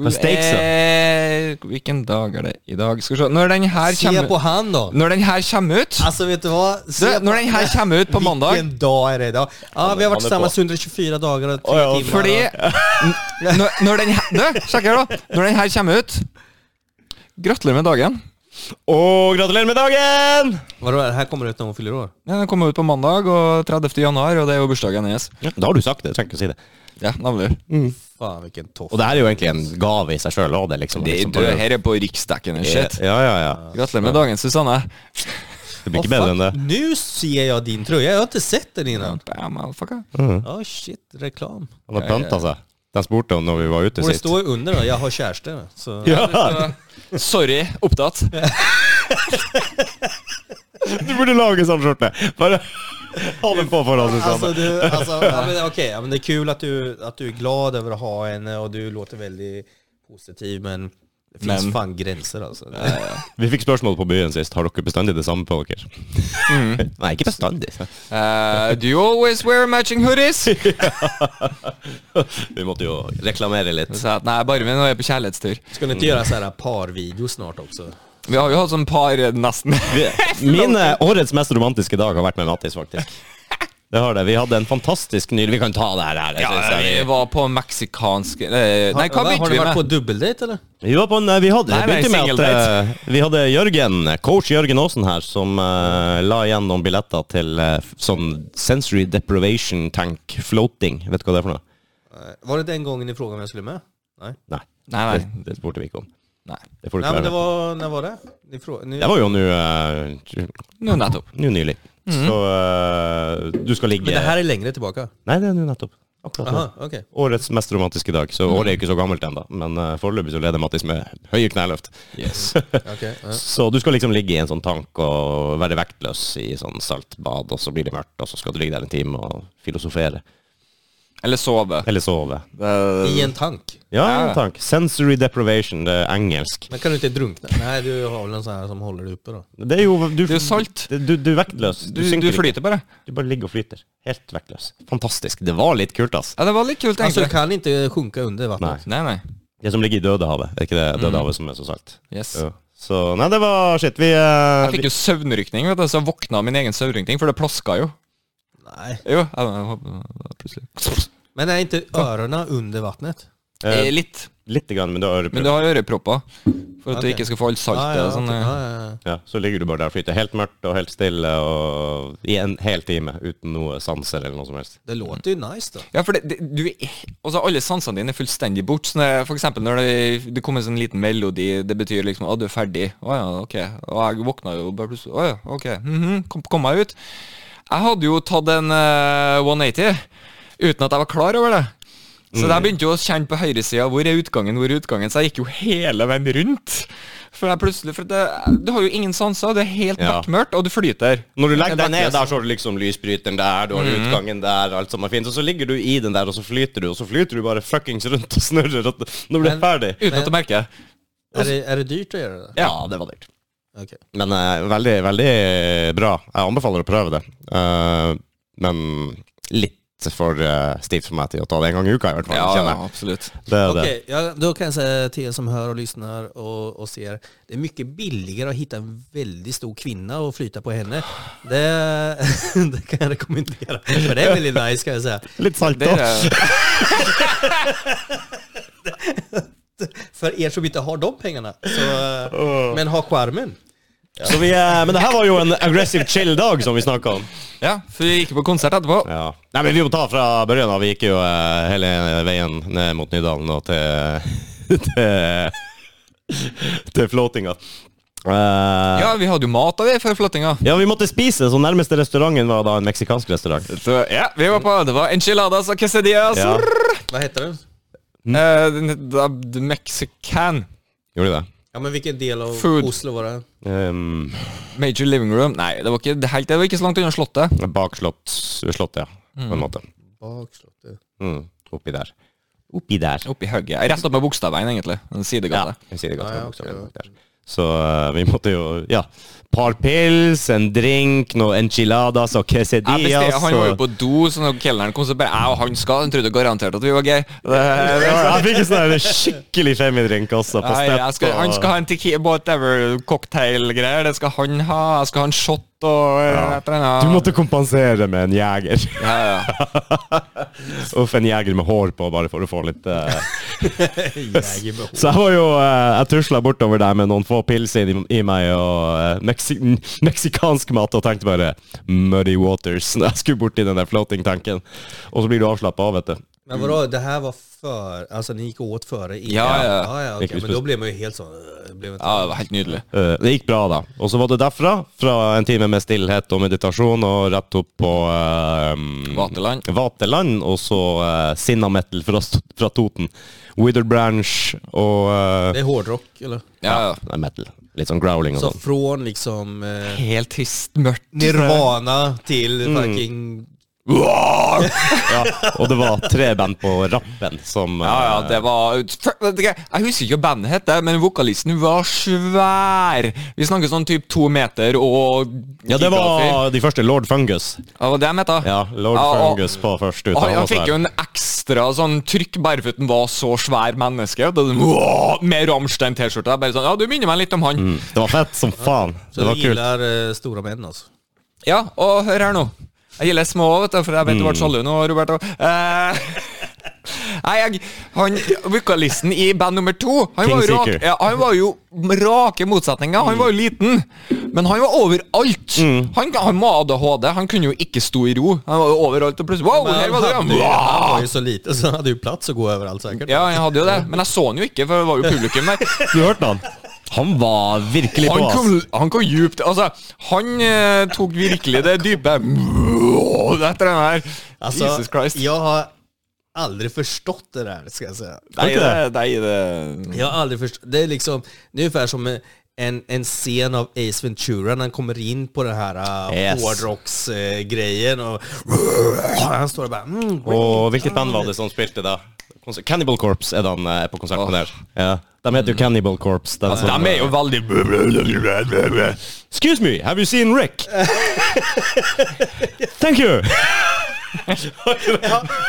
Hva Stix da? Eh, Hvilken dag er det i dag? Skal vi se. Når den her Se på kommer, han då. når den her kommer ut Alltså vet du vad? du, Se på- Når den her kommer ut på mandag Vilken dag är det idag? Ja, vi har han är varit tillsammans på. 124 dagar och 3 Oj, ja, timmar. Fordi når, når den her Du, sjekk her, da. Når den her kommer ut Gratulerer med dagen. Og gratulerer med dagen! Vadå, det här kommer ut när hon fyller år? Ja, Den kommer ut på mandag og 30. januar, og det er jo bursdagen hennes. Da har du sagt det. Du trenger ikke å si det. Ja, nemlig. Fan vilken toff. Og det her er jo egentlig en gave i seg sjøl òg. Det, er liksom, Det liksom du, her er på riksdekkende shit. Ja, ja, ja. Gratulerer med dagen, Susanne. Det blir ikke bedre enn det. Nu ser jeg din tröja, jag har inte sett den innan. Bam, motherfucker. Mm. Ja, shit, reklam. Han har panta seg. De spurte om når vi var ute Och det sist. står ju under då, jag har kärste. Så. [LAUGHS] Ja, Sorry, opptatt. du burde lage sånn skjorte! Bare [LAUGHS] ha den på liksom. foran Alltså, Susanne. Altså, du, alltså, [LAUGHS] ja, men, okej, ja, men det är kul att du, att du är glad över att ha henne och du låter väldigt positiv men Eh, mm. det finns Men. fan gränser alltså. Vi fikk spørsmål på byen sist. Har dere bestandig det samme på dere? [LAUGHS] Nei, ikke bestandig. Eh, do you always wear matching hoodies? Vi måtte jo reklamere litt. Så, jeg, nei, bare med når jeg er på kjærlighetstur. Ska ni inte göra så här parvideo snart också? Vi har jo hatt sånn par eh, nesten. [LAUGHS] Min eh, årets mest romantiske dag har vært med Mattis, faktisk. Det har det. Vi hadde en fantastisk nylig Vi kan ta det her. her. jeg synes jeg. vi var på meksikansk eh, Nei, hva har, har begynte ni vi varit på med? dubbeldejt eller? Vi var på en, vi hadde, Nei, det begynte nei, med at eh, vi hadde Jørgen, coach Jørgen Aasen her, som eh, la igjen noen billetter til eh, f- sånn sensory deprivation tank floating. Vet du hva det er for noe? Var det den gången ni frågade om jag skulle med? Nej. Nei, Nei, nei. Det, det spurte vi ikke om. Nej. Det får du Nej, ikke men det være. med. var, när var det? Ni frå, ni, Det var jo nå eh, Nå nettopp. nå nylig. Mhm. Så eh, du skal ligge men det här är längre tillbaka? Nei, det er nå nettopp. Akkurat nå. Aha, okej. Årets mest romantiske dag. Så året er jo ikke så gammelt ennå, men eh, foreløpig så leder Mattis med høye kneløft. [LAUGHS] Yes. Okej, ja. Så du skal liksom ligge i en sånn tank og være vektløs i sånn saltbad, og så blir det mørkt, og så skal du ligge der en time og filosofere. Eller sove. Eller sove. I en tank? Ja, Ja. en tank. Sensory deprivation, det er engelsk. Men kan du inte drunkna? Nej, du har väl en sån här som håller dig uppe då? Det er jo Du, Det er salt. Du, du, er vektløs. Du, du ikke. flyter bare. Du bare ligger og flyter. Helt vektløs. Fantastisk. Det var litt kult, ass. Ja, det var litt kult, Alltså du egentlig. kan inte sjunka under vattnet? Nei. Nei, nei. Det som ligger i Dødehavet. Er ikke det Mm. Dødehavet som er så salt? Yes. Ja. Så Nei, det var shit. Vi, eh, Jeg fikk jo søvnrykning, vet du, så jeg våkna av min egen søvnrykning, for det plaska jo. Nej. Jo, jeg- jeg- plutselig. Men är inte öronen under vattnet? vi eh, Eh, Litt. Litt, grann, men du har Men øreprøve. du har ørepropper, for at du Ok. Ah, ikke skal få alt Ja, saltet. ja, og sånn, eh. okej. Ja, ja, ja. Ja, så ligger du bare der og flyter. Helt mørkt og helt stille og i en hel time uten noe sanser eller noe som helst. Det låter ju nice då. Ja, for det, det, du er, altså alle sansene dine er fullstendig bort. Sånn, eh, for eksempel når det, det kommer en sånn liten melodi, det betyr liksom at du er ferdig. Å ja, ok. Og jeg våkna jo bare plutselig. Å ja, ok. Mhm, kom, kom meg ut. Jeg hadde jo tatt en eh, 180 uten at jeg var klar over det. Så jeg begynte jo å kjenne på høyresida hvor er utgangen, hvor er utgangen. Så jeg gikk jo hele veien rundt. For jeg plutselig, for det, Du har jo ingen sanser, det er helt Ja. bekmørkt, og du flyter. Når du legger deg Helt ned vektløs. der, så har du liksom lysbryteren der, du har Mhm. utgangen der, alt som er fint. Og så ligger du i den der, og så flyter du, og så flyter du bare fuckings rundt og snurrer og når du er Men- ferdig. Uten at du merker det. Är det, är det dyrt att göra det? Ja, det var dyrt. Okej. Men eh, veldig, veldig bra. Jeg anbefaler å prøve det. Eh, men litt for eh, stivt for meg til å ta det en gang i uka, i hvert fall. Ja, ja, kjenner jeg. absolutt. Det er det. Okej, ja, då kan jag säga till er som hör och lyssnar och, och ser. Det är mycket billigare att hitta en väldigt stor kvinna och flyta på henne. Det, det [LAUGHS] kan jag rekommendera. För det är väldigt nice kan jag säga. Litt salt Det òg. er För er som inte har de pengarna. Så, Men har charmen. eh, Men det her var jo en aggressive chill dag som vi snakka om. Ja, for vi gikk på konsert etterpå. Ja. Nei, men vi må ta fra børjen av. Vi gikk jo eh, hele veien ned mot Nydalen og til [LAUGHS] til, til flåtinga. Eh, Ja, vi hadde jo mat av det før flyttinga. ja, vi måtte spise, så nærmeste restauranten var da en meksikansk restaurant. Så ja, vi var på Det var enchiladas og quesadillas. Ja. Vad heter den? Eh, den- da- the Mexican Gjorde det? Ja men vilken del av Food. Oslo var det? Um, Major Living Room. Nei, det var ikke, det helt, det var ikke så langt unna Slottet. Bak slott, slottet, ja. På en måte. Bakslottet. Mm. Oppi der. Oppi der. Oppi hugget. Rett opp med Bogstadveien, egentlig. En sidegate. Ja, jeg sier det godt. Ja, ja, bak slottet, ok, bak der. Så eh, vi måtte jo Ja. Par pils, en drink, noe enchiladas og Jeg quesadillas. bestilte, han var jo og- [LAUGHS] på do, så når kelneren kom, så bare jeg og han skal. Han trodde garantert at vi var gay. Det- Jeg fikk en sånn her skikkelig femidrink også. På Nei, jeg skal, stepp han og- skal ha en tequila whatever cocktail-greier. Det skal han ha. Jeg skal ha en shot og eh, Ja. et eller annet. Du måtte kompensere med en jeger. ja, ja. [LAUGHS] Uff, en jeger med hår på, bare for å få litt eh, Jägerbehov. Så jeg var jo eh, Jeg tusla bortover der med noen få pils i, i meg og eh, meksi n- meksikansk mat og tenkte bare Muddy Waters [LAUGHS] når jeg skulle borti den der floating-tanken. Og så blir du avslappa av, vet du. Men vadå, det här var för, alltså ni gick åt före er? Ja, ja. ja, ja okej. Gick ut Men då blev man ju helt så... äh, Blev inte... Ja, det var helt nydelig. Eh, det gikk bra, da. Og så var det derfra, fra en time med stillhet og meditasjon, og rett opp på eh, Vaterland. Vaterland, og så uh, Sinnametal fra, St- fra Toten. Wither Branch og eh, Det är hårdrock eller? Ja, ja. Nei, metal. Litt sånn growling og Så sånn. från liksom... eh, Helt Mm. tyst, mørkt. Nirvana til fucking Ja, og det var tre band på rappen som eh, Ja, ja, det var Vet ikke, Jeg husker ikke hva bandet het, men vokalisten var svær. Vi snakker sånn typ to meter og Ja, det var de første Lord Fungus. Ja, det var det jeg mente. Ja, Lord Ja, og- Fungus på først ut. Og han han, var han fikk svær. jo en ekstra sånn trykk bare for at han var så svær menneske. Og det, var sånn, «Wow!» med Rammstein-T-skjorta. Bare sånn Ja, du minner meg litt om han. Det var fett som faen. Så Det var du kult. gillar eh, stora menn altså? Ja, og hør her nå. Jeg gjelder små òg, vet du, for jeg vet du ble sjalu nå, Roberto. Eh, Nei, jeg, han, Vokalisten i band nummer to Han, King var jo, rak, Seeker. ja, han var jo rake motsetninger. Han var jo liten. Men han var overalt! Han, han må ha ADHD. Han kunne jo ikke stå i ro. Han var jo overalt, og plutselig Wow, Men her han var det! hadde, ja. ju- han Wow! var ju så liten så han hade ju plats att gå överallt säkert. Ja, jeg hadde jo det, men jeg så han jo ikke, for det var jo publikum der. [LAUGHS] Du hørte han? Han var virkelig på, Han ass. kom, han kom djupt. Altså, han eh, tok virkelig det dype [LAUGHS] etter den her. Alltså, Jesus Christ. Jag har aldrig förstått det där, ska jeg säga. Nei, ikke det, det. nei, det Jag har aldrig förstått. Det är liksom, det är ungefär som en, en scen av Ace Ventura när han kommer in på den här eh, Yes. yes. hårdrocksgrejen och han står och bara mm, Og hvilket band var det som spilte da? Kons- Cannibal Corpse er den eh, på konsert med der. Ja. De heter jo Cannibal Corpse. den som- Mm. De er jo veldig Excuse me, have you seen [LAUGHS] Rick? Thank you! Ja,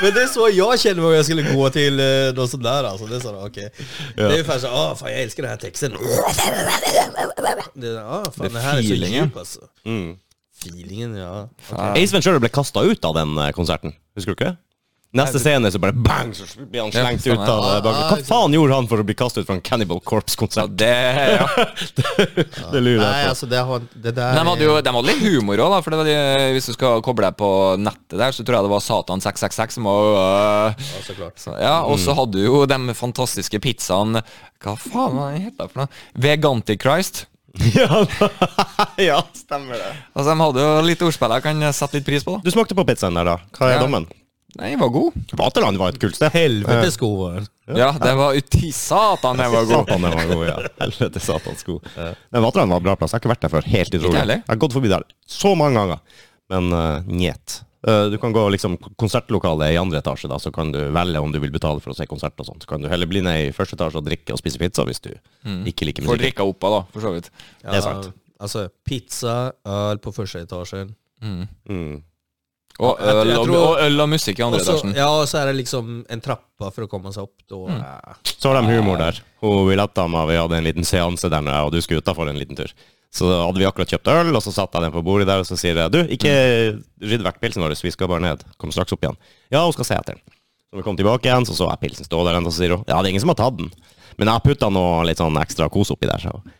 men det är så jag känner om jag skulle gå till eh, någon sån där alltså. Det är sådär, okej. Det är ungefär så, ah fan jag älskar den här texten. Det är, ah, fan, det, här är så feelingen. djup alltså. Feelingen, ja. Ah. Ace Ventura ble kasta ut av den eh, konserten, husker du ikke? Neste scene så bare bang, så blir han Ja, slengt ut stemmer. Ah, av eh, bakgrunnen. Hva faen gjorde han for å bli kastet ut fra en Cannibal ja, Corpse-konsert? det, ja. Det lurer jeg på. Nej, alltså altså, det, har, det [LAUGHS] Men där De hadde jo de hadde litt humor òg, for det var de, hvis du skal koble deg på nettet der, så tror jeg det var Satan666 som var øh, Ja, såklart. så, Ja, og så hadde du jo de fantastiske pizzaene Hva faen var den het da for noe? Veganti Christ. [LAUGHS] Ja, [LAUGHS] ja, stemmer det. Altså, de hadde jo litt ordspill jeg kan sette litt pris på. da Du smakte på pizzaen der, da. Hva er Ja. dommen? Nei, den var god. Vaterland var et kult sted. Helvete sko var den. Ja, det var uti satan, den var god. Satan, den var god, ja. Helvete satans god. Men Vaterland var en bra plass. Jeg har ikke vært der før. Helt utrolig. heller. Jeg har gått forbi der så mange ganger, men uh, njet. Eh, du kan gå liksom konsertlokalet i andre etasje, da, så kan du velge om du vil betale for å se konsert og sånt. Så kan du heller bli ned i første etasje og drikke og spise pizza hvis du ikke liker Får musikk. drikka opp av, da, for så vidt. Ja, Det er sant. Alltså pizza, öl på första etagen. Mm. Og Jeg- jeg øl og, tror- og, øl og musikk i Och andre så, etasjen. ja, och så är det liksom en trappa för att komma sig upp då. Ah. Så har de humor der. Hun Villetama, vi hadde en liten seanse der nå, og du skulle utafor en liten tur. Så hadde vi akkurat kjøpt øl, og så satte jeg den på bordet der, og så sier jeg du, ikke rydd vekk pilsen vår, vi skal bare ned. Kom straks opp igjen. Ja, hun skal se etter den. Så vi kom tilbake igjen, så så jeg pilsen stå der, og så sier hun ja, det er ingen som har tatt den. Men jeg putta noe litt sånn ekstra kos oppi der, sa hun.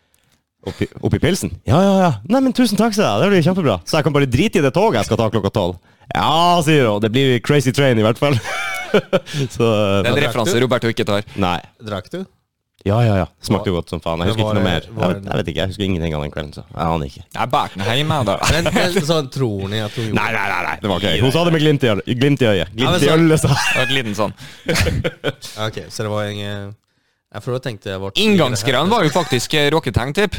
Oppi, oppi pilsen? Ja, ja, ja. Nei, men tusen takk, sa jeg. Det blir kjempebra. Så jeg kan bare drite i det toget jeg skal ta klokka tolv. Ja, sier hun. Det blir crazy train, i hvert fall. [LAUGHS] så Det er en men, drakk du? referanse Roberto ikke tar. Nei. Drack du? Ja, ja, ja. Smakte jo godt som faen. Jeg Men husker ikke noe var mer. det- Jeg var vet, det- jeg vet ikke, jeg husker ingenting av den kvelden. så Jeg aner ikke. Jeg bærer den hjem, jeg, da. Men, men sån tror ni att hon gjorde. Nei, nei, nei, nei. det var ikke jeg. Hun sa det med glimt i øyet. Glimt i øyet. Ja, men Glimt i så- ølet, sa jeg. Det var et liten sånn. Okej, så det var inget... Ja, för då tänkte jag vart... Inngangsgreiene var jo faktisk eh, rocketang, tipp.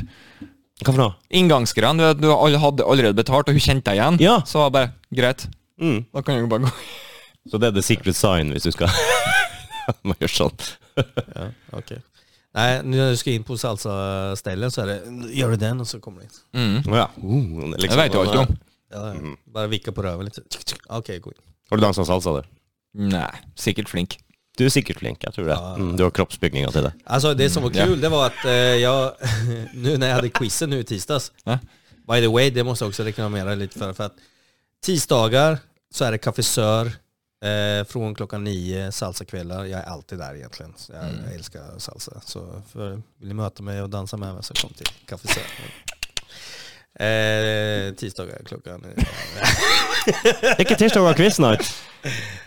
Hva for noe? Inngangsgreiene, du, vet, du all- hadde allerede betalt, og hun kjente deg igjen. Ja. Så var det bare greit. Mm. Da kan du jo bare gå. Så det er the secret sign, hvis du skal [LAUGHS] Man gjør sånn. Ja, okej. Nej, nu när du ska in på salsa-ställen altså, så är det, gör du den och så kommer du in. Mm. Å Ja. Uh, liksom, Det vet du alt om. Ja, ja. Mhm. Bara vicka på röven lite. Tsk, tsk. Okej, gå in. Har du dansa salsa, du? Nei, sikkert flink. Du er sikkert flink. jeg tror det. Ja. Mm, du har kroppsbygninga til det. Alltså Altså, det som var ja. kul, det var att eh, [LAUGHS] jag, nu när jag hade quizen nu i tisdags, Ja. by the way, det måste jag också reklamera lite för, för att tisdagar så är det kaffesör eh, från klockan nio, salsakvällar. Jag är alltid där egentligen. Så jag Mm. älskar salsa. Så för, vill ni möta mig och dansa med mig så kom till [LAUGHS] kaffesör. Eh, tisdagar klockan... Det er ikke tirsdag og quiz night.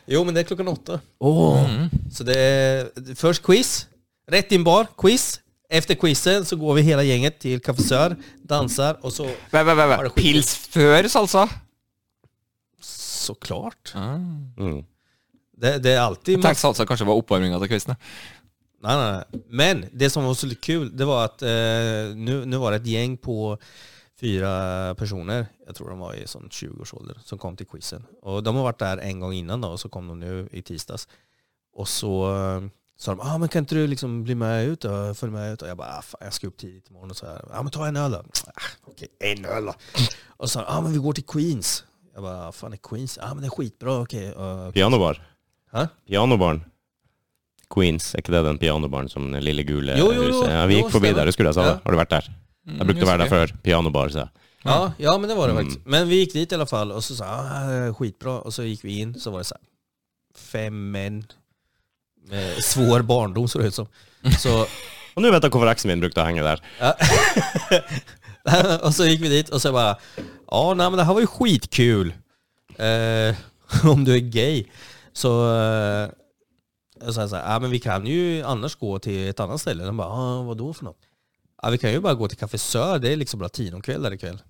jo men det är klockan åtta. Oh. Så det är först quiz, rätt in bar, quiz. Efter quizen så går vi hela gänget till kaffesör, dansar och så Vent, vent, vent, vent. Pils før salsa? såklart. Mm. Det, det är alltid... Jeg tenkte salsa kanskje var oppvarminga til quizen. ja. Nej, nej, nej. Men det som var så kul, det var att eh, nu, nu var det ett gäng på fyra personer, jag tror de var i sån 20-årsålder, som kom till quizen. Och de har varit där en gång innan då, och så kom de nu i tisdags. Och så eh, sa de, ah, men kan inte du liksom bli med ut då? Följ med ut? Och jag bara, ah, fan, jag ska upp tidigt imorgon och så här, ja ah, men ta en öl då. Ah, Okej, en öl då. Och så sa de, ah men vi går till Queens. Jag bara, ah, fan är Queens? Ja ah, men det är skitbra, okej. eh, Pianobar. Hæ? Pianobaren. Queens, er ikke det den pianobaren som den lille gule Jo, jo, jo. huset? Ja, vi Jo, gikk forbi stemmer. der, husker du jeg sa Ja. Mm, det? Har du vært der? Jeg brukte å Mm, være der før. Pianobar, sa jeg. Ja, ja men det var det faktiskt. Men vi gick dit i alla fall och så sa ah, skitbra och så gick vi in så var det så här, fem män med svår barndom såg det ut som. Så, Og nå vet jeg hvorfor eksen min brukte å henge der. [LAUGHS] och så gick vi dit och så bara, ja nej men det här var ju skitkul. Eh, [LAUGHS] om du är gay. Så, eh, och så, här, så här, ja men vi kan ju annars gå till ett annat ställe. De bara, ah, vad då för något? Ja vi kan ju bara gå till Café Sör, det är liksom latinokvällar ikväll.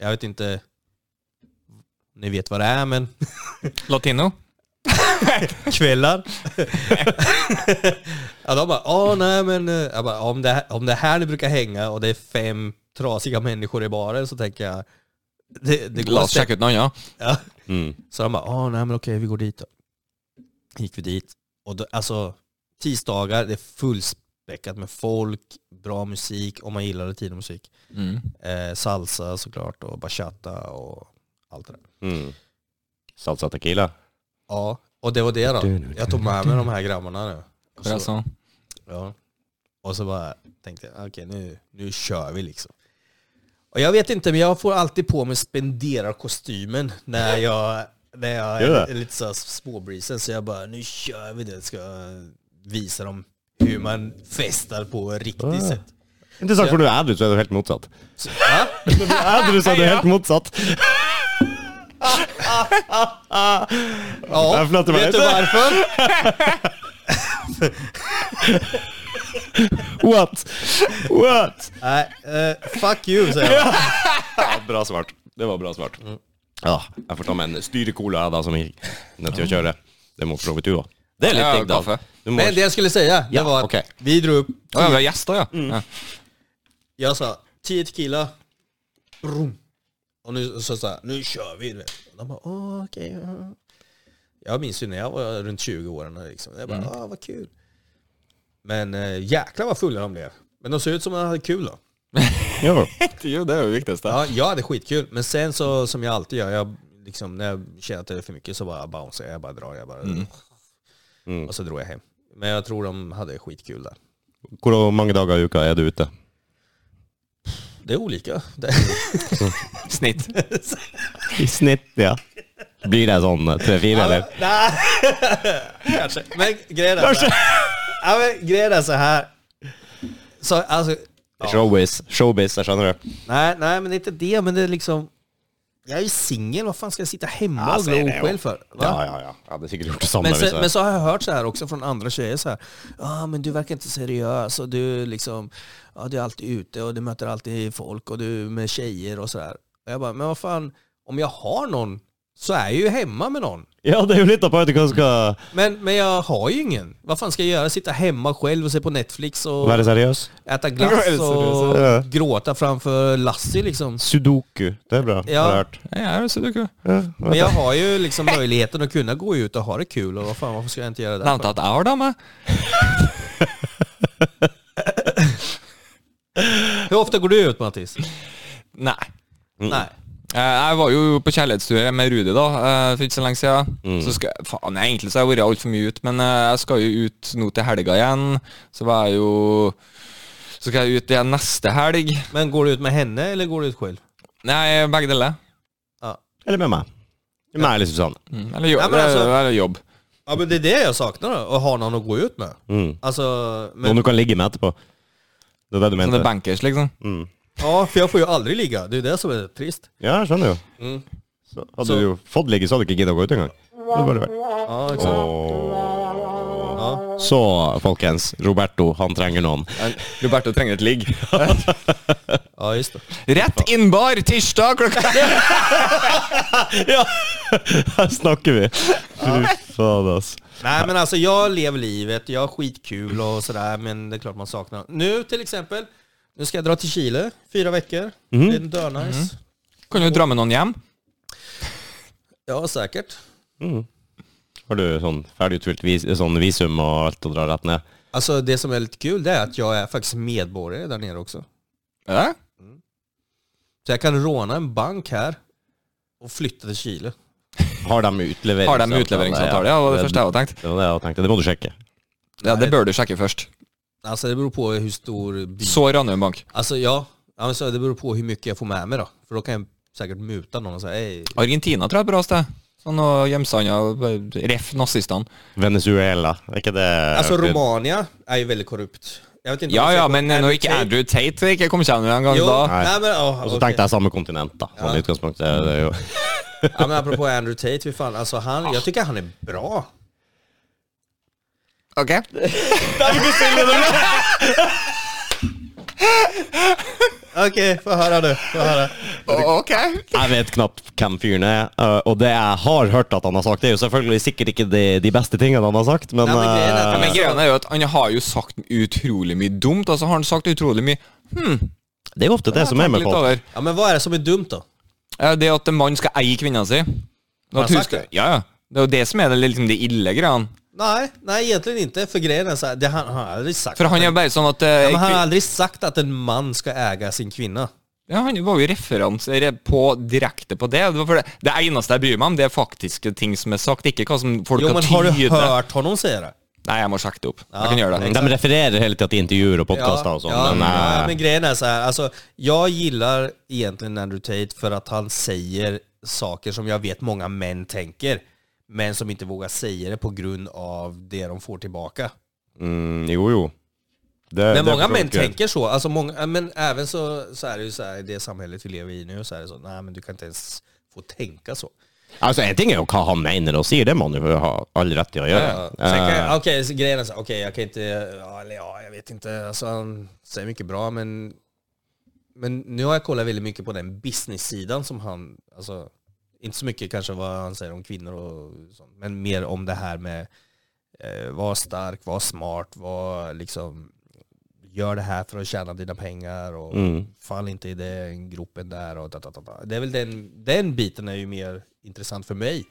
Jag vet inte, ni vet vad det är men Latino? kvällar. ja, de bara, åh nej men, eh," jag bara, om, det här, om det här ni brukar hänga och det är fem trasiga människor i baren så tänker jag, det, det går La oss säkert." sjekke ut noe annet. Ja. Mm. Så de bara, åh nej men okej vi går dit då. Gick vi dit, och då, alltså tisdagar, det är fullspäckat med folk, bra musik, om man gillar latinomusik. Mm. Eh, salsa såklart och bachata och allt det där. Mm. Salsa tequila. Ja, och det var det då. Jag tog med mig de här grabbarna nu. Och Bra så- sånn. Ja. Och så bara tänkte jag, okej nu, nu kör vi liksom. Och jag vet inte, men jag får alltid på mig spenderarkostymen när jag, när jag Gör är, det? lite så småbrisen. Så jag bara, nu kör vi det. Ska visa dem hur man festar på riktigt Ah. sätt. Interessant, for når du er edru, så er du helt motsatt. Så, ja, Når du er edru, så er du helt motsatt. ja. Jeg flatter meg Vet du litt. varför? What? What? Nej, eh, fuck [LAUGHS] you säger jag. Ja, bra svart. Det var bra svart. Ja, jeg får ta med en styrecola da, som jeg er nødt til å kjøre. Det må for så vidt du òg. Det er litt Ja, digg, da. kaffe. Du må... Men det jag skulle säga, det Ja, var att okej. vi drog upp, Å ja, vi har gjester, ja. Mm. ja. jag sa 10 tequila, Brum. Och nu så sa jag, nu kör vi. du vet. Och De bara, åh okej. ja." Jag minns ju när jag var runt 20 åren. Liksom. Jag bara, åh vad kul. Men eh, jäklar vad fulla de blev. Men de såg ut som att de hade kul då. Jo. Jo, [LAUGHS] det er jo det viktigste. Ja, jag hade skitkul. Men sen så, som jag alltid gör, jag, liksom, när jag känner att det är för mycket så bara bouncear jag, jag bara drar, jag bara... Mm. Och så drog jag hem. Men jag tror de hade skitkul där. Hvor mange dager i uka er du ute? Det är olika. Det, [LAUGHS] Snitt. I snitt, ja. Blir det sånn eh, tre-fire, eller? Nej, kanske. Men grejen är så här. Ja, men grejen är så här. Så, alltså, Showbiz. Showbiz, jeg skjønner det. nej, nej, men det är inte det, men det är liksom... Jag är ju singel, vad fan ska jag sitta hemma Ja, och så glo är det, ja. själv för? Va? Ja, ja, ja. Jeg hadde sikkert gjort det samme. Men, hvis så, men jeg... så har jag hört så här också från andra tjejer så här. Ja, ah, men du verkar inte seriös och du liksom, ja, du är alltid ute och du möter alltid folk och du är med tjejer och så där. Och jag bara, men vad fan, om jag har någon så är jag ju hemma med någon. Ja, det er jo litt av poenget. Hva skal Men, men jag har ju ingen. Vad fan ska jag göra? Sitta hemma själv och se på Netflix och være seriøs? äta [LAUGHS] glass och Ja. gråta framför Lassie liksom. Sudoku. Det er bra. Ja. Har jeg hørt. Ja, ja, så du Ja, Men vet jag jeg. har ju liksom möjligheten att kunna gå ut och ha det kul och vad fan, varför ska jag inte göra det? Nevnte at jeg har dame. Hur ofta går du ut Mattis? Nei. Nej. Eh, Jeg var jo på kjærlighetstur med Rudi da, eh, for ikke så lenge siden. Så skal, jeg- faen, jeg- egentlig så har jeg vært altfor mye ute, men eh, jeg skal jo ut nå til helga igjen. Så var jeg jo Så skal jeg ut igjen neste helg. Men går du ut med henne eller går du ut själv? Nei, begge deler. Eller med meg. Med meg eller Susanne. Mm, Eller, jo, Ja, men altså- eller, eller jobb. Sånn Ja men det är det jag saknar då, att ha någon att gå ut med. Mm. Alltså, men, Noen du kan ligge med etterpå. Det er det du Sånne mente? bankers, liksom. Mm. ja, för jag får ju aldrig ligga, det är det som är trist. Ja, jeg skjønner jo. Mm. Så hadde Så- du jo fått ligge, så hadde du ikke giddet å gå ut engang. Det hadde bare vært- Ja, exakt. Åh. Ja. Så, folkens. Roberto, han trenger noen. [LAUGHS] Roberto trenger et ligg. ja, just det. Rett innbar tirsdag klokka Ja! Her snakker vi. Fy faen, ass. Nej men alltså jag lever livet, jag har skitkul och sådär men det är klart man saknar. Nu till exempel, nu ska jag dra till Chile fyra veckor. Mhm. Det är dörnice. Kan du dra med noen hjem? Ja säkert. Har du sånn ferdigutfylt vis sånn visum och allt och drar rett ned? Alltså det som är lite kul det är att jag är faktiskt medborgare där nere också. Er det? Så jag kan råna en bank här och flytta till Chile. Har de utleveringsavtale? Har de utleveringsavtale? Ja, det var det første jeg hadde tenkt. Det var det jeg tenkte. Det må du sjekke. Ja, Det bør du sjekke først. Alltså det beror på hur stor by... Så Ranum Bank. Alltså ja, alltså, det beror på hur mycket jag får med mig då. För då kan jag säkert muta någon och säga hej. Argentina tror jeg er et bra sted. Sånn og hjemsanda Ref nazistene. Venezuela, er ikke det Altså, Alltså Romania är ju väldigt korrupt. Jag vet inte Ja om jag ja, ska- men når ikke Andrew Tate ikke kommer seg en gang Jo, da nej, men, åh, Og så okej. tenkte jeg samme kontinent, da. Sånn i utgangspunktet. Det er jo. ja, men apropå Andrew Tate, hur fan, alltså han, jag tycker han är bra. Ok? Okej, få höra du. Få höra. Ok. Jeg vet knapt hvem fyren er, øh, og det jeg har hørt at han har sagt, det er jo selvfølgelig sikkert ikke de, de beste tingene han har sagt, men, Nei, men greien øh, er at- Ja, men greia er jo at han har jo sagt utrolig mye dumt. Altså har han sagt utrolig mye det er jo ofte det som er Tenk med litt folk. over. Ja, men vad är det som är dumt då? Eh, Det at en mann skal eie kvinna si. Har han At hun sagt skal, det? ja, ja. Det er jo det som er det, liksom, det ille greiene. Nej, nej egentligen inte. För grejen är så här, det han, han har aldrig sagt. For han er bare sånn at eh, Men han har kvin- aldrig sagt att en man ska äga sin kvinna. ja, Han var jo referanser på direkte på det. Det, var for det. det eneste jeg bryr meg om, det er faktiske ting som er sagt, ikke hva som folk Jo, men har har du tydet. hört honom säga det? Nei, jeg må sjekke det opp. Ja, Jeg kan gjøre det. De refererer hele tiden til intervjuer og podkaster og sånn, ja, men øh, ja, men grejen är så här, alltså, jag gillar egentligen Andrew Tate för att han säger saker som jag vet många män tänker, men som inte vågar säga det på grund av det de får tillbaka. mm, jo jo. Det, Men det många forstår män ikke jeg. tänker så, alltså många, men även så, så är det ju så här, i det samhället vi lever i nu, så är det så, nej men du kan inte ens få tänka så. Altså, En ting er jo hva han mener og sier, det må han jo ha all rett til å gjøre. Ja, sen kan jag- Okej, så grejen är så här, okej jag kan inte, ja, eller ja, jag vet altså, inte, alltså, han säger mycket bra men, men nu har jag kollat väldigt mycket på den business-sidan som han, alltså, inte så mycket kanske vad han säger om kvinnor och sånt, men mer om det här med eh, var stark, var smart, var liksom gör det här för att tjäna dina pengar och fall inte i den gropen där och da, da, da, da. Det är väl den, den biten är ju mer intressant för mig.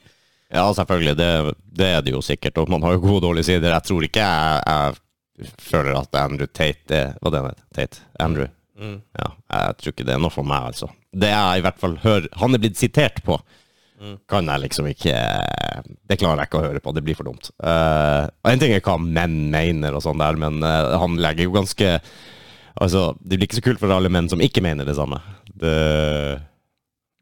Ja, selvfølgelig. Det, det er det jo sikkert. Og man har jo gode og dårlige sider. Jeg tror ikke jeg, jeg føler at Andrew Tate er Hva det er det? Tate? Andrew? Ja, jeg tror ikke det er noe for meg, altså. Det jeg i hvert fall hører Han er blitt sitert på. Kan jeg liksom ikke Det klarer jeg ikke å høre på. Det blir for dumt. Eh, og en ting er hva menn mener og sånn der, men eh, han legger jo ganske Altså, det blir ikke så kult for alle menn som ikke mener det samme. Det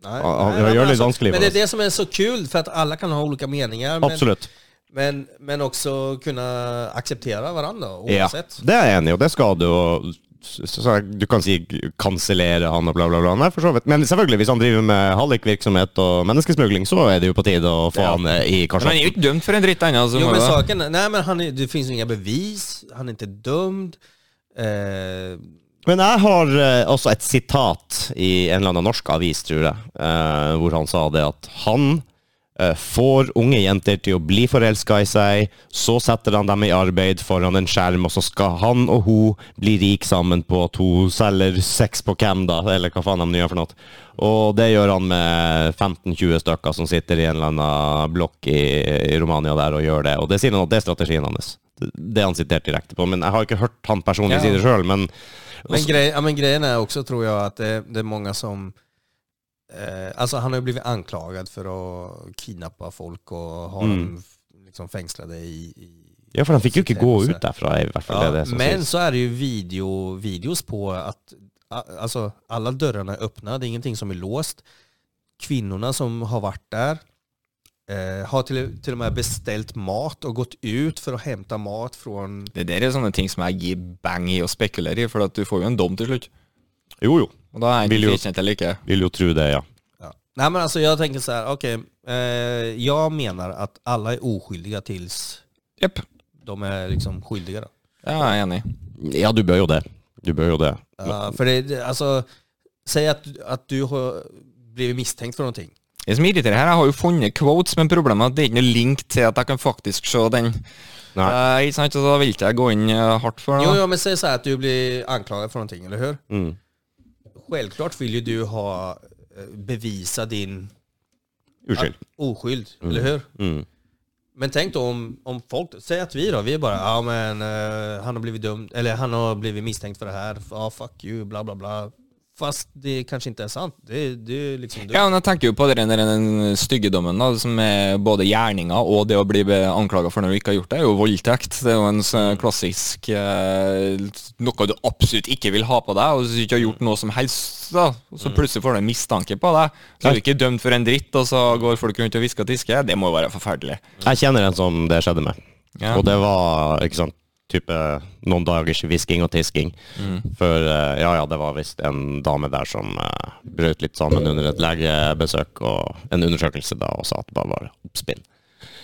Nej, Ja, nej, jag men gör det vanskligt Men det med är det som är så kul, för att alla kan ha olika meningar. Men, Absolutt. men, men också kunna acceptera varandra oavsett. Ja, det er jeg enig i, og det skal du. Og så, så, du kan si kansellere han og bla, bla, bla. Nei, for så vidt. Men selvfølgelig, hvis han driver med hallikvirksomhet og menneskesmugling, så er det jo på tide å få han eh, i Men han er jo kasjotten. ikke dømt for en dritt ennå. Altså, Jo må men det- saken, är- nej men han är, det finns ju inga bevis, han är inte dömd. Eh, Men jeg har eh, også et sitat i en eller annen norsk avis, tror jeg, eh, hvor han sa det at han eh, får unge jenter til å bli forelska i seg, så setter han dem i arbeid foran en skjerm, og så skal han og hun bli rik sammen på at hun selger sex på hvem da, eller hva faen de nå gjør for noe. Og det gjør han med 15-20 stykker som sitter i en eller annen blokk i, i Romania der og gjør det. Og det sier han at det er strategien hans. Det er han sitert direkte på, men jeg har ikke hørt han personlig Ja. si det sjøl, men men, grej, ja, men grejen är också, tror jag, att det, det är många som... Eh, alltså han har ju blivit anklagad för att kidnappa folk och ha dem liksom fängslade i, i Mm. Ja, for han fikk jo ikke gå Sitter- ut derfra, i hvert fall. Ja, det er det som men sies. så är det ju video, videos på att a- alltså, alla dörrarna är öppna, det är ingenting som är låst. Kvinnorna som har varit där eh, har till, till och med beställt mat och gått ut för att hämta mat från... Det der er sånne ting som jeg gir bang i og spekulerer i, for at du får jo en dom til slutt. Jo, jo. Og da er jeg Vil jo- enten frikjent eller ikke. Vil jo tro det, ja. Ja. Nej men alltså jag tänker så här, okej, eh, jag menar att alla är oskyldiga tills Jepp. de är liksom skyldiga. Då. Ja, jeg er enig. Ja, du bør jo det. Du bør jo det. Ja, Eh, för det- det, alltså, säg att, att du har blivit misstänkt för någonting. Det som irriterer her, jeg har jo funnet quotes, men problemet er at det er ikke noe link til at jeg kan faktisk se den. Nei. Eh, ikke sant, så da vil ikke jeg gå inn eh, hardt for det. Jo, da. jo, men säg så här att du blir anklagad för någonting, eller hur? Mm. Självklart vill ju du ha eh, bevisa din Unnskyld. oskyld, eller hur? Mm. Men tänk då om, om folk, säg att vi då, vi är bara ja men eh, han har blivit dömd, eller han har blivit misstänkt för det här, ja fuck you, bla bla bla. Fast det kanske inte är sant. Det, det är liksom du. Ja, men jeg tenker jo på den, der- den styggedommen da, som er både gjerninga og det å bli anklaga for noe du ikke har gjort, det er jo voldtekt. Det er jo en sånn klassisk eh, noe du absolutt ikke vil ha på deg, og hvis du ikke har gjort noe som helst, da, og så plutselig får du en mistanke på deg. Så er du ikke dømt for en dritt, og så går folk rundt og hvisker og tisker. Det må jo være forferdelig. Jeg kjenner en som det skjedde med. Ja. Og det var ikke sant, type noen dagers hvisking og tisking. Mm. For eh, ja, ja, det var visst en dame der som eh, brøt litt sammen under et legebesøk og en undersøkelse da, og sa at det bare var oppspinn.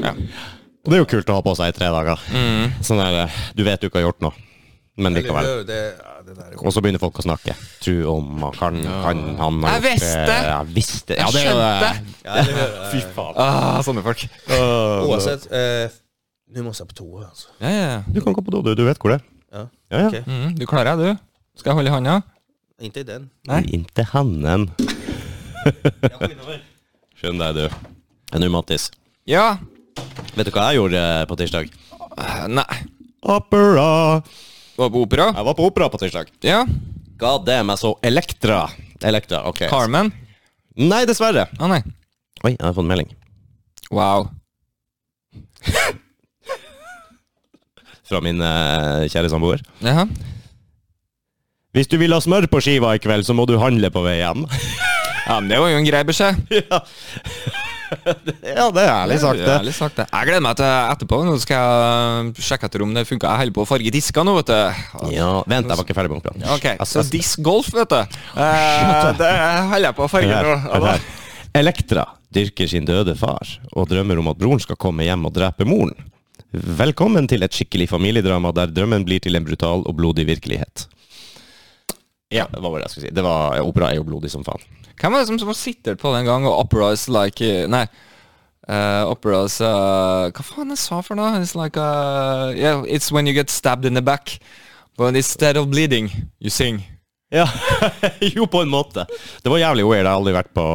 Ja. Mm. Og det er jo kult å ha på seg i tre dager. Sånn der, eh, du vet du ikke har gjort noe, men Eller likevel. hør, det, ja, det der er Og så begynner folk å snakke. Tro om han kan, han, han har Jeg gjort det. visste. Jeg visste! Ja, Jeg det er jo det. skjønte. ja, eller hør, Fy faen. Ah, Ah, sånne folk. eh, Uansett eh, Nå må jeg på toa, altså. Ja, ja, ja. Du kan gå på do, du. Du vet hvor det er. Ja. Ja, ja. Ok. Mm, du klarer det, du. Skal jeg holde i handa? Ikke i den. Nei. Inte hannen. [LAUGHS] Skjønn deg, du. Men Nå, Mattis. Ja. Vet du hva jeg gjorde eh, på tirsdag? Eh, Nei. Opera! Var på opera? Jeg var på opera på tirsdag. Ja. God damn, jeg så Elektra. Elektra, ok. Carmen? Nei, dessverre. Å nei. Oi, jeg har fått en melding. Wow. Fra min eh, kjære samboer. Jaha. Hvis du vil ha smør på skiva i kveld, så må du handle på vei hjem. Ja, men det var jo en grei beskjed. [LAUGHS] ja. ja, det er ærlig sagt, Ja, det. ærlig sagt det. Jeg gleder meg til etterpå. Nå skal jeg sjekke etter om det funker. Jeg holder på å farge disker nå, vet du. Ja, Vent, jeg var ikke ferdig med operaen. Ok, Altså, så disc golf, vet du. Eh, det holder jeg på å Hør farge her, nå. hør her. Elektra dyrker sin døde far og drømmer om at broren skal komme hjem og drepe moren. Velkommen til et skikkelig familiedrama der drømmen blir til en brutal og blodig virkelighet. Ja, det var bare det jeg skulle si. Det var, opera er jo blodig som faen. Hvem var det som- som sitter på den gang og operas like eh, Nei. eh, operas eh, Hva faen jeg sa for noe? It's like eh, Yeah, it's when you get stabbed in the back. But instead of bleeding, you sing. Ja, [LAUGHS] jo, på en måte. Det var jævlig weird. Jeg har aldri vært på,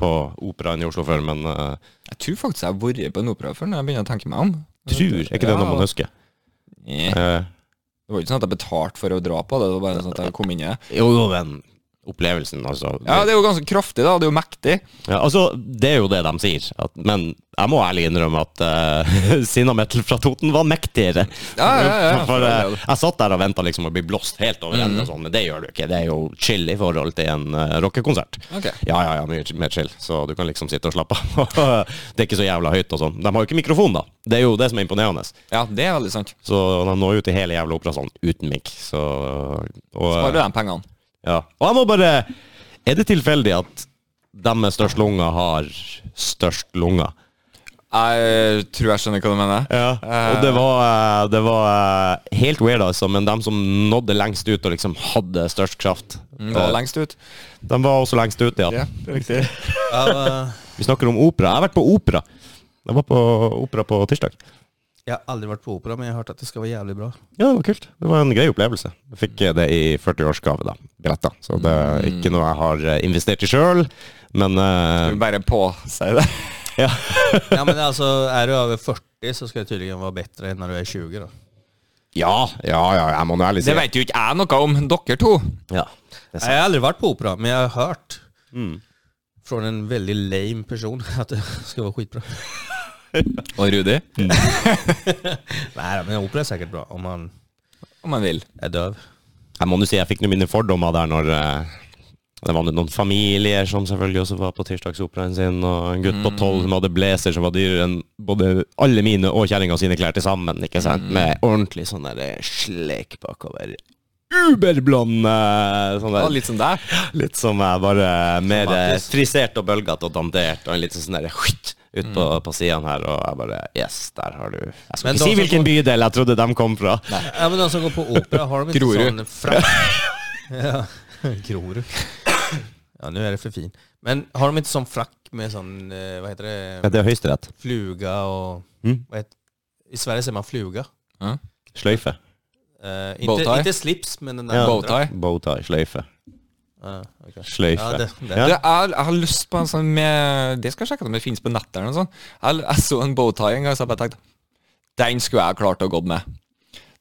på operaen i Oslo før, men eh, Jeg tror faktisk jeg har vært på en opera før når jeg begynner å tenke meg om. tror Er ikke det noe man husker? Nei. Eh, Det var jo ikke sånn at jeg betalte for å dra på det, det var bare sånn at jeg kom inn i det. jo, jo, men opplevelsen, altså. Ja, det er jo ganske kraftig, da. Det er jo mektig. Ja, altså, Det er jo det de sier, at, men jeg må ærlig innrømme at [LAUGHS] uh, Sinna Metal fra Toten var mektigere. Ja, ja, ja, [LAUGHS] for, eh, for all del. Mhm. jeg satt der og venta liksom å bli blåst helt over ende, og sånn, men det gjør du ikke. Det er jo chill i forhold til en eh, rockekonsert. Ok. Ja, ja, ja, mye ch- mer chill, så du kan liksom sitte og slappe av. [LAUGHS] det er ikke så jævla høyt og sånn. De har jo ikke mikrofon, da. Det er jo det som er imponerende. Ja, det er veldig sant. Så de når jo til hele jævla operasalen uten mic, så og, eh, Sparer du de pengene? ja. Og jeg må bare Er det tilfeldig at de med størst lunger har størst lunger? Jeg tror jeg skjønner hva du mener. Og det var, eh, det var eh, helt weird, altså, men de som nådde lengst ut og liksom hadde størst kraft, Det var eh, lengst ut. de var også lengst ut, ja. det er riktig. Ja, hva- Vi snakker om opera. Jeg har vært på opera. Jeg var på opera på tirsdag. jeg har aldri vært på opera, men jeg har hørt at det skal være jævlig bra. Ja, det var kult. Det var en grei opplevelse. Jeg fikk eh, det i 40-årsgave, da. Billetter. Så det er Mm. ikke noe jeg har eh, investert i sjøl, men eh, Du bare påsier det. ja. Ja, men altså, Er du over 40, så skal det tydeligvis være bedre enn når du er 20. da. ja, ja, ja, jeg må nå ærlig si Det vet jo ikke jeg noe om, dere to. Ja. Det Jeg har aldri vært på opera, men jeg har hørt Mm. fra en veldig lame person [LAUGHS] at det skal være skitbra. Og Rudi. Nei, men opera er sikkert bra om man Om man vil. er døv. Jeg må nå si jeg fikk nå mine fordommer der når eh, det var nå noen familier som selvfølgelig også var på tirsdagsoperaen sin, og en gutt på tolv som hadde blazer som var dyrere enn både alle mine og kjerringa sine klær til sammen, ikke sant? Med ordentlig sånn der eh, slek bakover. Uberblond eh, sånn Ja, der. litt som deg. Litt som jeg bare mer eh, Mattis. frisert og bølgete og dandert, og en litt sånn der skjøtt ut på, på siden her, og jeg bare Yes, der har du Jeg skal Men ikke si da- hvilken bydel jeg trodde de kom fra. Ja, men de som går på opera, har de ikke Grorud. sånn [LAUGHS] frakk? Ja. Grorud. Ja, nå er det for fin. Men har de ikke sånn frakk med sånn, eh, hva heter det, Det er Høyesterett. fluga og Mm. hva heter, I Sverige sier man fluga. Sløyfe. Eh, Bowtie? inte, inte slips, men den der Ja. andra. Bowtie. Bowtie. Sløyfe. Ja, okej. Sløyfe. Ja, det, det. Ja. Det er, jeg har lyst på en sånn med Det skal jeg sjekke om det finnes på nettet. eller noe sånt. Jeg, jeg så en bowtie en gang, så jeg bare tenkte Den skulle jeg klart å gått med.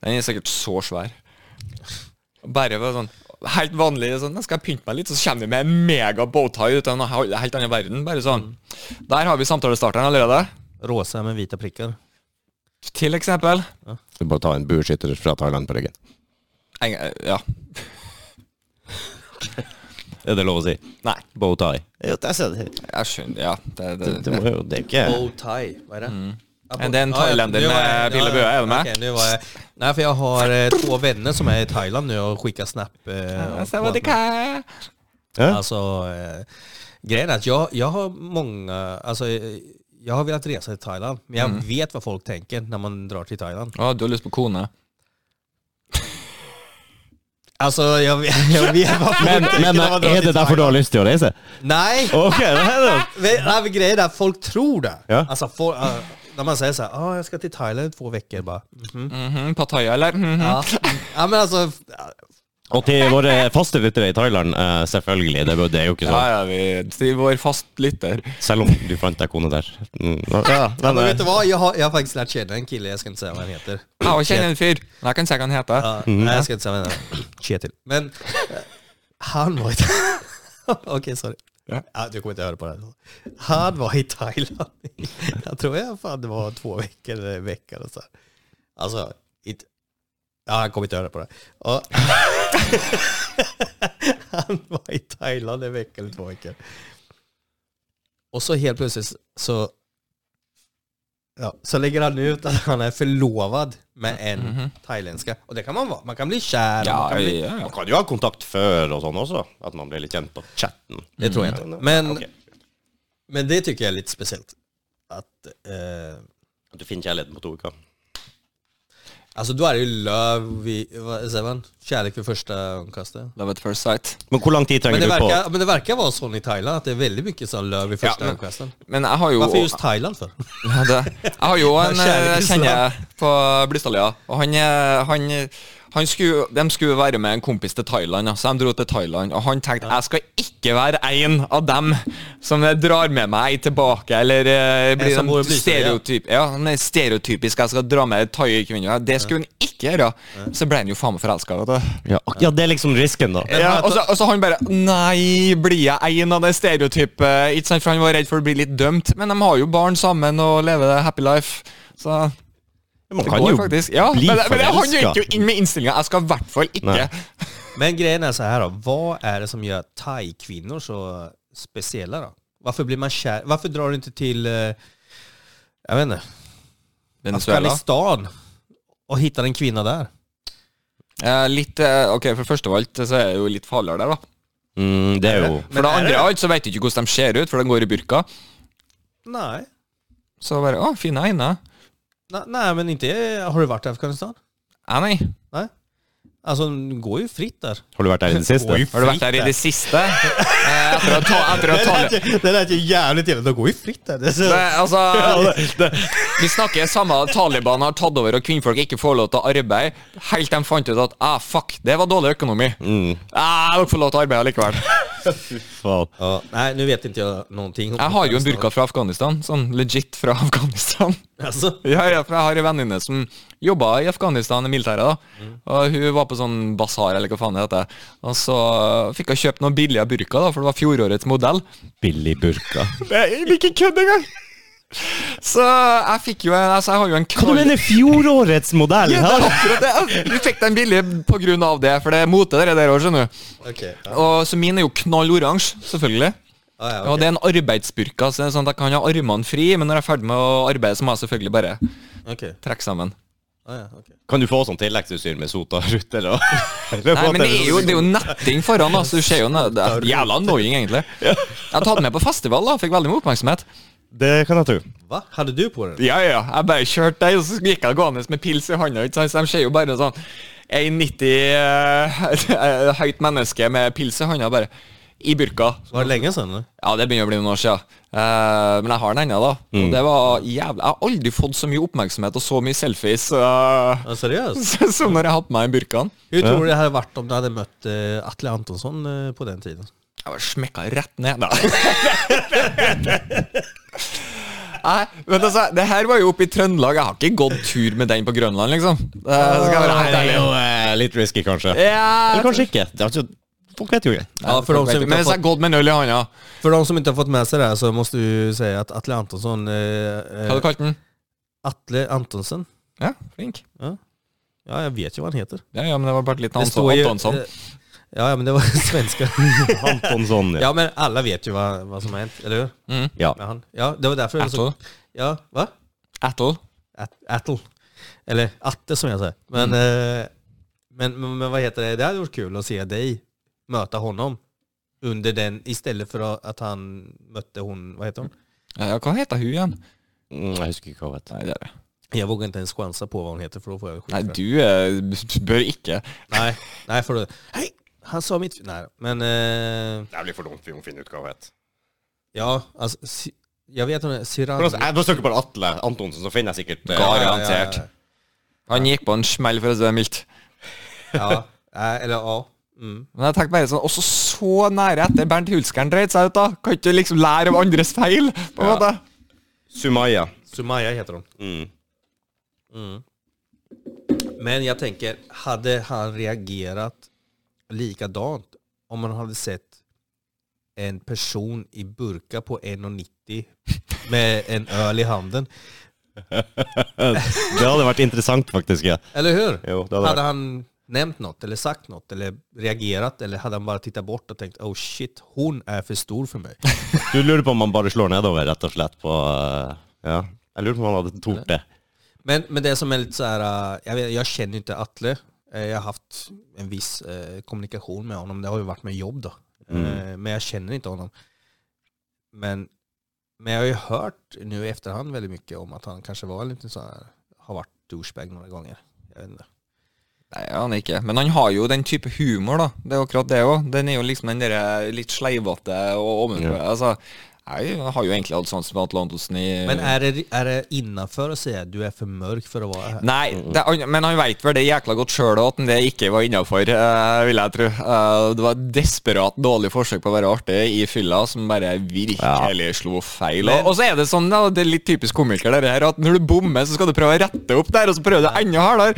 Den er sikkert så svær. Bare for sånn Helt vanlig sånn, nå skal jeg pynte meg litt, så kommer vi med en mega bowtie ut av en hel- helt annen verden. Bare sånn. Der har vi samtalestarteren allerede. Rosa med vita prickar. Til eksempel. Du bare ta en bueskytter fra Thailand på ryggen. Eng, ja. Er det lov å si? Nei. Bowtie. Jo, det er det. Jeg skjønner, ja. Mm. Det, det, Det, må jo, det er ikke Bowtie, vad är det? And then Ja, jag- Thailänder nu var jag- med ja, Ville Bøe, eh, är du med? okej, nu var jag, nej, för jag har eh, två vänner som är i Thailand nu och skickar snap. Eh, Så på var det att- ka- Ja. Alltså, eh, grejen är att jag, jag har många, alltså, eh, jag har velat resa till Thailand, men jag Mm. vet vad folk tänker när man drar till Thailand. Ja, du har lyst på kone. Alltså, jag, vet- [LAUGHS] jag vet vad folk Men, tänker men när man drar er till det derfor Thailand. du har lyst til å reise? Nej, Ok, det er det. men, nej, men grejen är att folk tror det. Ja. Alltså, folk, eh, när man säger så här, ah, jag ska till Thailand i två veckor bara. Mhm. Mhm, Pattaya, eller? Mhm. Ja. ja, men alltså, Og til våre faste lyttere i Thailand, eh, selvfølgelig. Det, det er jo ikke sånn. Ja, ja, vi til vår fastlytter. Selv om du fant deg kone der. Mm, Ja, Ja, men, men vet du vad? Jag har, jag har faktiskt lärt känna en kille, jag ska inte säga vad han heter. Ja, og kjenner en fyr. Men Jeg kan si hva han heter. Ja, Nej, jag ska inte säga vad han heter. Mm. Kjetil. Men eh, han var i [LAUGHS] Okej, sorry. Ja. Ja, du kommer inte höra på det här. Han var i Thailand. [LAUGHS] Jag tror jag fan det var två veckor eller en vecka. Och så. Altså, här. Alltså, it, ja, han kommer inte höra på det. här. Och, [LAUGHS] han var i Thailand en vecka eller två veckor. Och så helt plötsligt så Ja, så lägger han ut att han är förlovad med en thailändska. Och det kan man vara. Man kan bli kär. man Ja, kan bli, ja, ja. Man kan jo ha kontakt før og sånn også. At man blir litt kjent på chatten. Det tror jag inte. Men, men det tycker jag är lite speciellt. Att, eh, Du finner kjærligheten på to uker. alltså då är det ju love, vid, vad säger man? Kärlek vid första ögonkastet. Love at first sight. Men hvor lang tid Men trenger det, du på? verkar, men det verkar vara så i Thailand att det är väldigt mycket sån sånn love vid första men- ögonkastet. Men jeg har jo Varför just Thailand för? Ja, det- Jeg har [LAUGHS] jo en eh, Kjærlighet. kjenner jeg på Blystadlia. Og han, eh, han, han skulle, de skulle være med en kompis til Thailand, ja, så de dro til Thailand. Og han tenkte jeg skal ikke være en av dem som eh, drar med meg tilbake, eller eh, blir som bor i en Blystadlia. stereotyp, ja, han er stereotypisk jeg skal dra med thaikvinner. Det skulle han ikke gjøre. Så ble han jo faen meg forelska. Ja, ak- ja, det er liksom risken, da. Ja, og, så- og så han bare Nei, blir jeg en av det stereotypet? Ikke sant, For han var redd for å bli litt dømt. Men de har jo barn sammen og lever det happy life. Så Man det kan går jo faktisk. Ja, bli men, men han gikk jo forelska. inn med innstillinga. Jeg skal i hvert fall ikke Nei. Men grejen är så här då, vad är det som gör thai-kvinnor så speciella då? Varför blir man kär? Varför drar du inte till, eh, jag vet inte, Venezuela. Afghanistan och hittar en kvinna där? Eh, litt, eh, ok, For først av alt så er det jo litt farligere der, da. Mm, det [LAUGHS] er jo For det andre av alt så vet du ikke hvordan de ser ut, for de går i burka. Nej. Så bare Å, fine øyne. Na, nej, men inte, har du varit i Afghanistan? Ja, nei. Nej. Alltså, den går ju fritt där. Har du vært der i det [LAUGHS] siste? Oj. Har du vært der i det siste? Eh, etter å ta, etter å ta [LAUGHS] Det lät ju jävligt illa. Den går ju fritt där. Det är så- det, altså, Ja, det- det- Vi snakker samme at Taliban har tatt over og kvinnfolk ikke får lov til å arbeide, helt til de fant ut at ah, fuck, det var dårlig økonomi. Ah, dere får lov til å arbeide likevel. Mm, faen. Ja, nej, nu vet inte jag någonting om Jeg har jo en burka fra Afghanistan, sånn legit fra Afghanistan. Alltså, [LAUGHS] Ja, ja, for Jeg har en venninne som jobba i Afghanistan i militæret. da Og Hun var på sånn basar, eller hva faen det heter. Og så fikk hun kjøpt noen billige burka, da, for det var fjorårets modell. Billig [LAUGHS] burka. Jeg vil ikke kødde engang! Så jeg fikk jo en altså, Jeg har jo en Hva du mener fjorårets modell? Ja, det er [LAUGHS] akkurat det. Du fikk den billig på grunn av det, for det er mote der, der også, skjønner du. okej. Ja, Og, så min er jo knall oransje, selvfølgelig. ja, ja, Og okej. det er en arbeidsburka, så det er sånn at jeg kan ha armene fri, men når jeg er ferdig med å arbeide, så må jeg selvfølgelig bare Okej. trekke sammen. Ja, ja, okej. Kan du få sånn tilleggsutstyr med sota og ruter? [LAUGHS] Og Nei, men det er jo, det er jo netting foran, da, så du ser jo noe- Det er jævla annoying, egentlig. Jeg har tatt den med på festival, da, fikk veldig mye oppmerksomhet. Det kan jeg tro. Va? Hade du på den? Ja, ja, jeg bare kjørte deg, og så gikk jeg gående med pils i hånda, ikke sant, så de ser jo bare sånn 1,90 eh, [LAUGHS] høyt menneske med pils i hånda, bare i burka. Var det länge sedan? eller? Ja, det begynner å bli noen år siden. Eh, men jeg har den ennå, da. Og det var jævlig Jeg har aldri fått så mye oppmerksomhet og så mye selfies eh, [LAUGHS] Ja, seriöst? som når jeg har på meg den burkaen. Hur tror du det hade varit om du hade mött eh, Atle Antonsson eh, på den tiden? Jeg var smekka rett ned. Nei. [LAUGHS] Nei, men altså, det her var jo oppe i Trøndelag. Jeg har ikke gått tur med den på Grønland, liksom. Eh, så skal jeg være helt det er ærlig. jo eh, litt risky, kanskje. Ja, Eller kanskje ikke. Det er altså, folk vet jo [LAUGHS] ikke. Ja, för de, som Men inte har hvis jeg fått, har gått med en øl i hånda, för de som inte har fått med sig det här så måste du säga att Atle Antonsson... Eh, hva hadde eh, du kalt den? Atle Antonsson? Ja, flink. Ja, jeg vet ju vad han heter. Ja, ja, men det var bare litt Det Anton, Antonsson. eh, ja, ja, men det var [LAUGHS] svenska. Antonsson, ja. ja, men alla vet ju vad, vad som har hänt, eller hur? Mm. Ja. Med han. Ja, det var därför... jag var så- Atto. Ja, va? Attle. At- Attle. Eller Atte som jag säger. Men, Mm. eh, men, men, men vad heter det? Det hade varit kul att se dig möta honom under den istället för att han mötte hon, vad heter hon? Ja, ja, hva heter hun igjen? Mm, jeg husker ikke hva hun het. Nei, det er det. Jag vågar inte ens chansa på vad hon heter för då får jag skit Nei, för det. du eh, [LAUGHS] bør ikke. Nej, nej för då, hej! Han sa mitt, nej men eh, Det blir for dumt vi må finne ut hva hun het. ja, altså, si, jag vet hon Siran. altså, Jeg søker bare Atle Antonsen, så finner jeg sikkert eh, Gar- garantert. Han gikk på en smell, for å si det mildt. Ja, nej, eller ja. Mm. Men jeg tenkte bare sånn, også så nære etter Bernt Hulskeren dreit seg ut, da. Kan ikke du liksom lære av andres feil, på en Ja. måte? Sumaya. Sumaya heter hon. Mm. Mm. Men jag tänker, hade han reagerat likadant om man hade sett en person i burka på 1,90 med en öl i handen? Det hadde vært interessant, faktisk. ja. Eller hur? Jo, det Hade hadde vært. han nämnt något eller sagt något eller reagerat eller hade han bara tittat bort och tänkt oh shit, hon är för stor för mig? Du lurer på om han bare slår nedover, rett og slett, på eh, Ja. Jeg lurer på om han hadde tort det. Men, men det som är lite så här, eh, jag, vet, jag känner ju inte Atle. Eh, Jag har haft en viss eh, kommunikation med honom. Det har ju varit med jobb då. Eh, men jag känner inte honom. Men, men jag har ju hört nu i efterhand väldigt mycket om att han kanske var lite så här, har varit douchebag några gånger. Jag vet inte. Nei, han er ikke. Men han har jo den type humor, da. Det er jo akkurat det òg. Den er jo liksom den derre litt sleivete og ovenfor. Altså, jeg har jo egentlig hatt sans for Atle Antonsen i Men är det, är det innanför att säga att du är för mørk för att vara här? Nei, det, han- men han veit vel det jækla godt sjøl at han det ikke var innafor, vil jeg tro. Eh, det var et desperat dårlig forsøk på å være artig i fylla, som bare virkelig slo feil. Og, og så er det sånn, da, det er litt typisk komiker, det her, at når du bommer, så skal du prøve å rette opp der, og så prøver du enda hardere.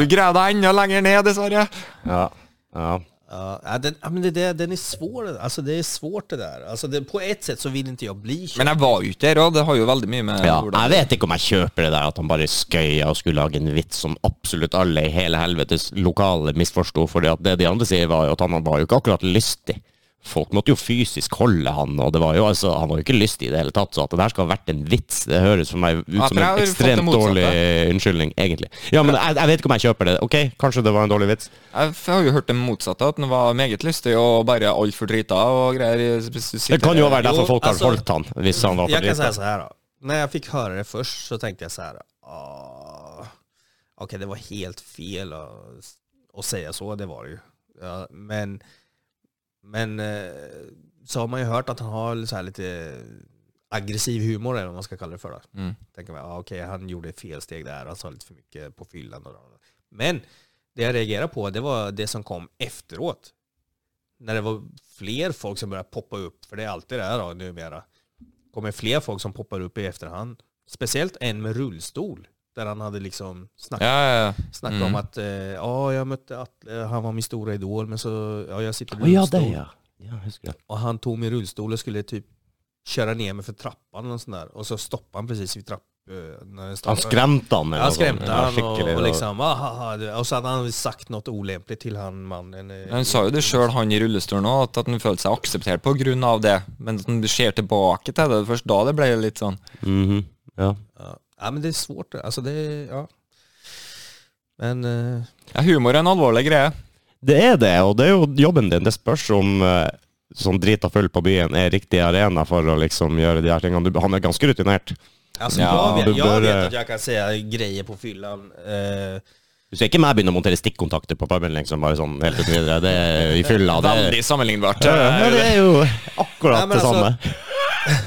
Du greier deg enda lenger ned, dessverre. Ja. ja. Ja, ja, den, ja, men det, det, den är svår. det där. Alltså det är svårt det där. Alltså det, på ett sätt så vill inte jag bli känd. Men jeg var jo ikke der òg, det har jo veldig mye med Ja, hvordan jeg vet ikke om jeg kjøper det der at han bare skøya og skulle lage en vits som absolutt alle i hele helvetes lokale misforsto, for det de andre sier var jo at han var jo ikke akkurat lystig. Folk måtte jo fysisk holde han, og det var jo altså, han var jo ikke lystig i det hele tatt, så at det der skal ha vært en vits, det høres for meg ut Ja, for som jeg har en jo fått det ekstremt motsatte. dårlig unnskyldning, egentlig. Ja, men jeg, jeg vet ikke om jeg kjøper det. Ok, kanskje det var en dårlig vits. Jeg f- har jo hørt det motsatte, at han var meget lystig og bare altfor drita og greier. Det kan jo være derfor Jo, folk har altså, holdt han, hvis han var Jag for kan sånn. säga drita. så här då. När jag fick höra det först så tänkte jag så här. "Ah, Okej, det var helt fel att, att säga så, det var det ju. Ja, men men eh, så har man ju hört att han har så här lite aggressiv humor eller vad man ska kalla det för. Då. Mm. Tänker man, ah, okej, han gjorde fel steg där, han sa lite för mycket på fyllan. Och då. Men det jag reagerade på, det var det som kom efteråt. När det var fler folk som började poppa upp, för det är alltid det här då, numera kommer fler folk som poppar upp i efterhand. Speciellt en med rullstol. Där han hade liksom snack, Ja, ja, ja. snackat Mm. om att eh, ja, jag mötte Atle, eh, han var min stora idol, men så, ja, jag sitter i Å ja, det rullstol. ja. Ja, jeg husker det. Och han tog min rullstol och skulle typ köra ner mig för trappan och sånt där. Och så stoppade han precis vid eh, trappan. Han skremte han. eller Ja, noe sånt. skrämde Ja, han och, skikkelig, och det var- liksom, ahaha, och så hade han sagt något olämpligt till han mannen. eh, Han sa jo det sjøl, han i rullestolen òg, at, at han følte seg akseptert pga. det. Men at han ser tilbake til det, det er først da det ble litt sånn Mhm, ja. Ja. ja, men det är svårt. Alltså det, ja. Men, eh, Ja, humor er en alvorlig greie. Det er det, og det er jo jobben din. Det spørs om eh, sånn drita full på byen er riktig arena for å liksom gjøre de her tingene. Du, han er ganske rutinert. Alltså Ja, jag, altså, vet, du jag bör, vet eh, att jag kan säga grejer på fyllan. Eh, Du ser ikke meg begynne å montere stikkontakter på puben liksom, bare sånn helt uten videre. Det er i fylla. Det, er- Veldig sammenlignbart. Eh, ja, det er jo akkurat Nei, men det altså-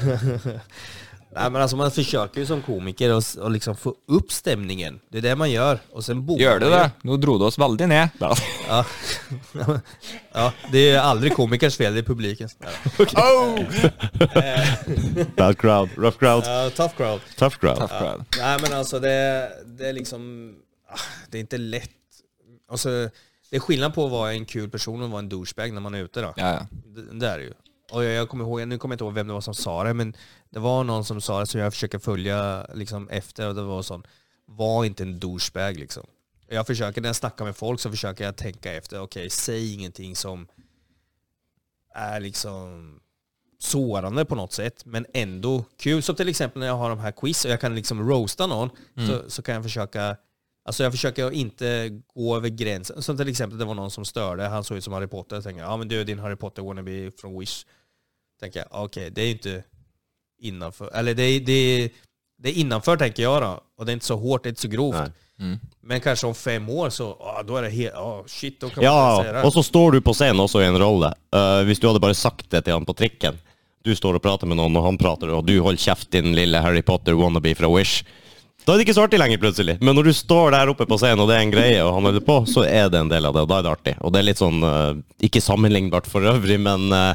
samme. nej, men alltså man försöker ju som komiker att s- att liksom få upp stämningen. Det är det man gör. Och sen bommar Gjør det man det? ju. Nå dro det oss veldig ned. Ja. [LAUGHS] ja, det är aldrig komikers fel, det är publikens. Oh! Bad crowd, rough crowd, Ja, tough crowd. tough crowd. Tough crowd. Nej men alltså det, det är liksom, ah, det är inte lätt. Alltså, Altså, det är skillnad på att vara en kul person och vara en douchebag när man är ute då. Ja, ja. Det, det är det ju. Och jag, jag kommer ihåg, nu kommer jag inte ihåg vem det var som sa det, men det var någon som sa det som jag försöker följa liksom efter och det var sån, var inte en douchebag liksom. Jag försöker, när jag snackar med folk så försöker jag tänka efter, okej, säg ingenting som är liksom sårande på något sätt, men ändå kul. Som till exempel när jag har de här quiz och jag kan liksom roasta någon, Mm. så, så kan jag försöka Alltså jag försöker att inte gå över gränsen. Som till exempel det var någon som störde, han såg ut som Harry Potter. Jag tänker, ja men du är din Harry Potter wannabe från Wish. Tänker jag, "Ah, okej det är ju inte innanför, eller det är, det, är, det är innanför tänker jag då. Och det är inte så hårt, det är inte så grovt. Nej. Mm. Men kanske om fem år så, ah, då är det helt, ah, shit, då kan man inte säga Ja, det. og så står du på scenen også i en rolle. Eh, hvis du hadde bare sagt det til han på trikken Du står og prater med noen, og han prater, og du holder kjeft, din lille Harry Potter wannabe fra Wish. Da er det ikke så artig lenger, plutselig. Men når du står der oppe på scenen, og det er en greie, og han holder på, så er det en del av det, og da er det artig. Og det er litt sånn eh, Ikke sammenlignbart for øvrig, men eh,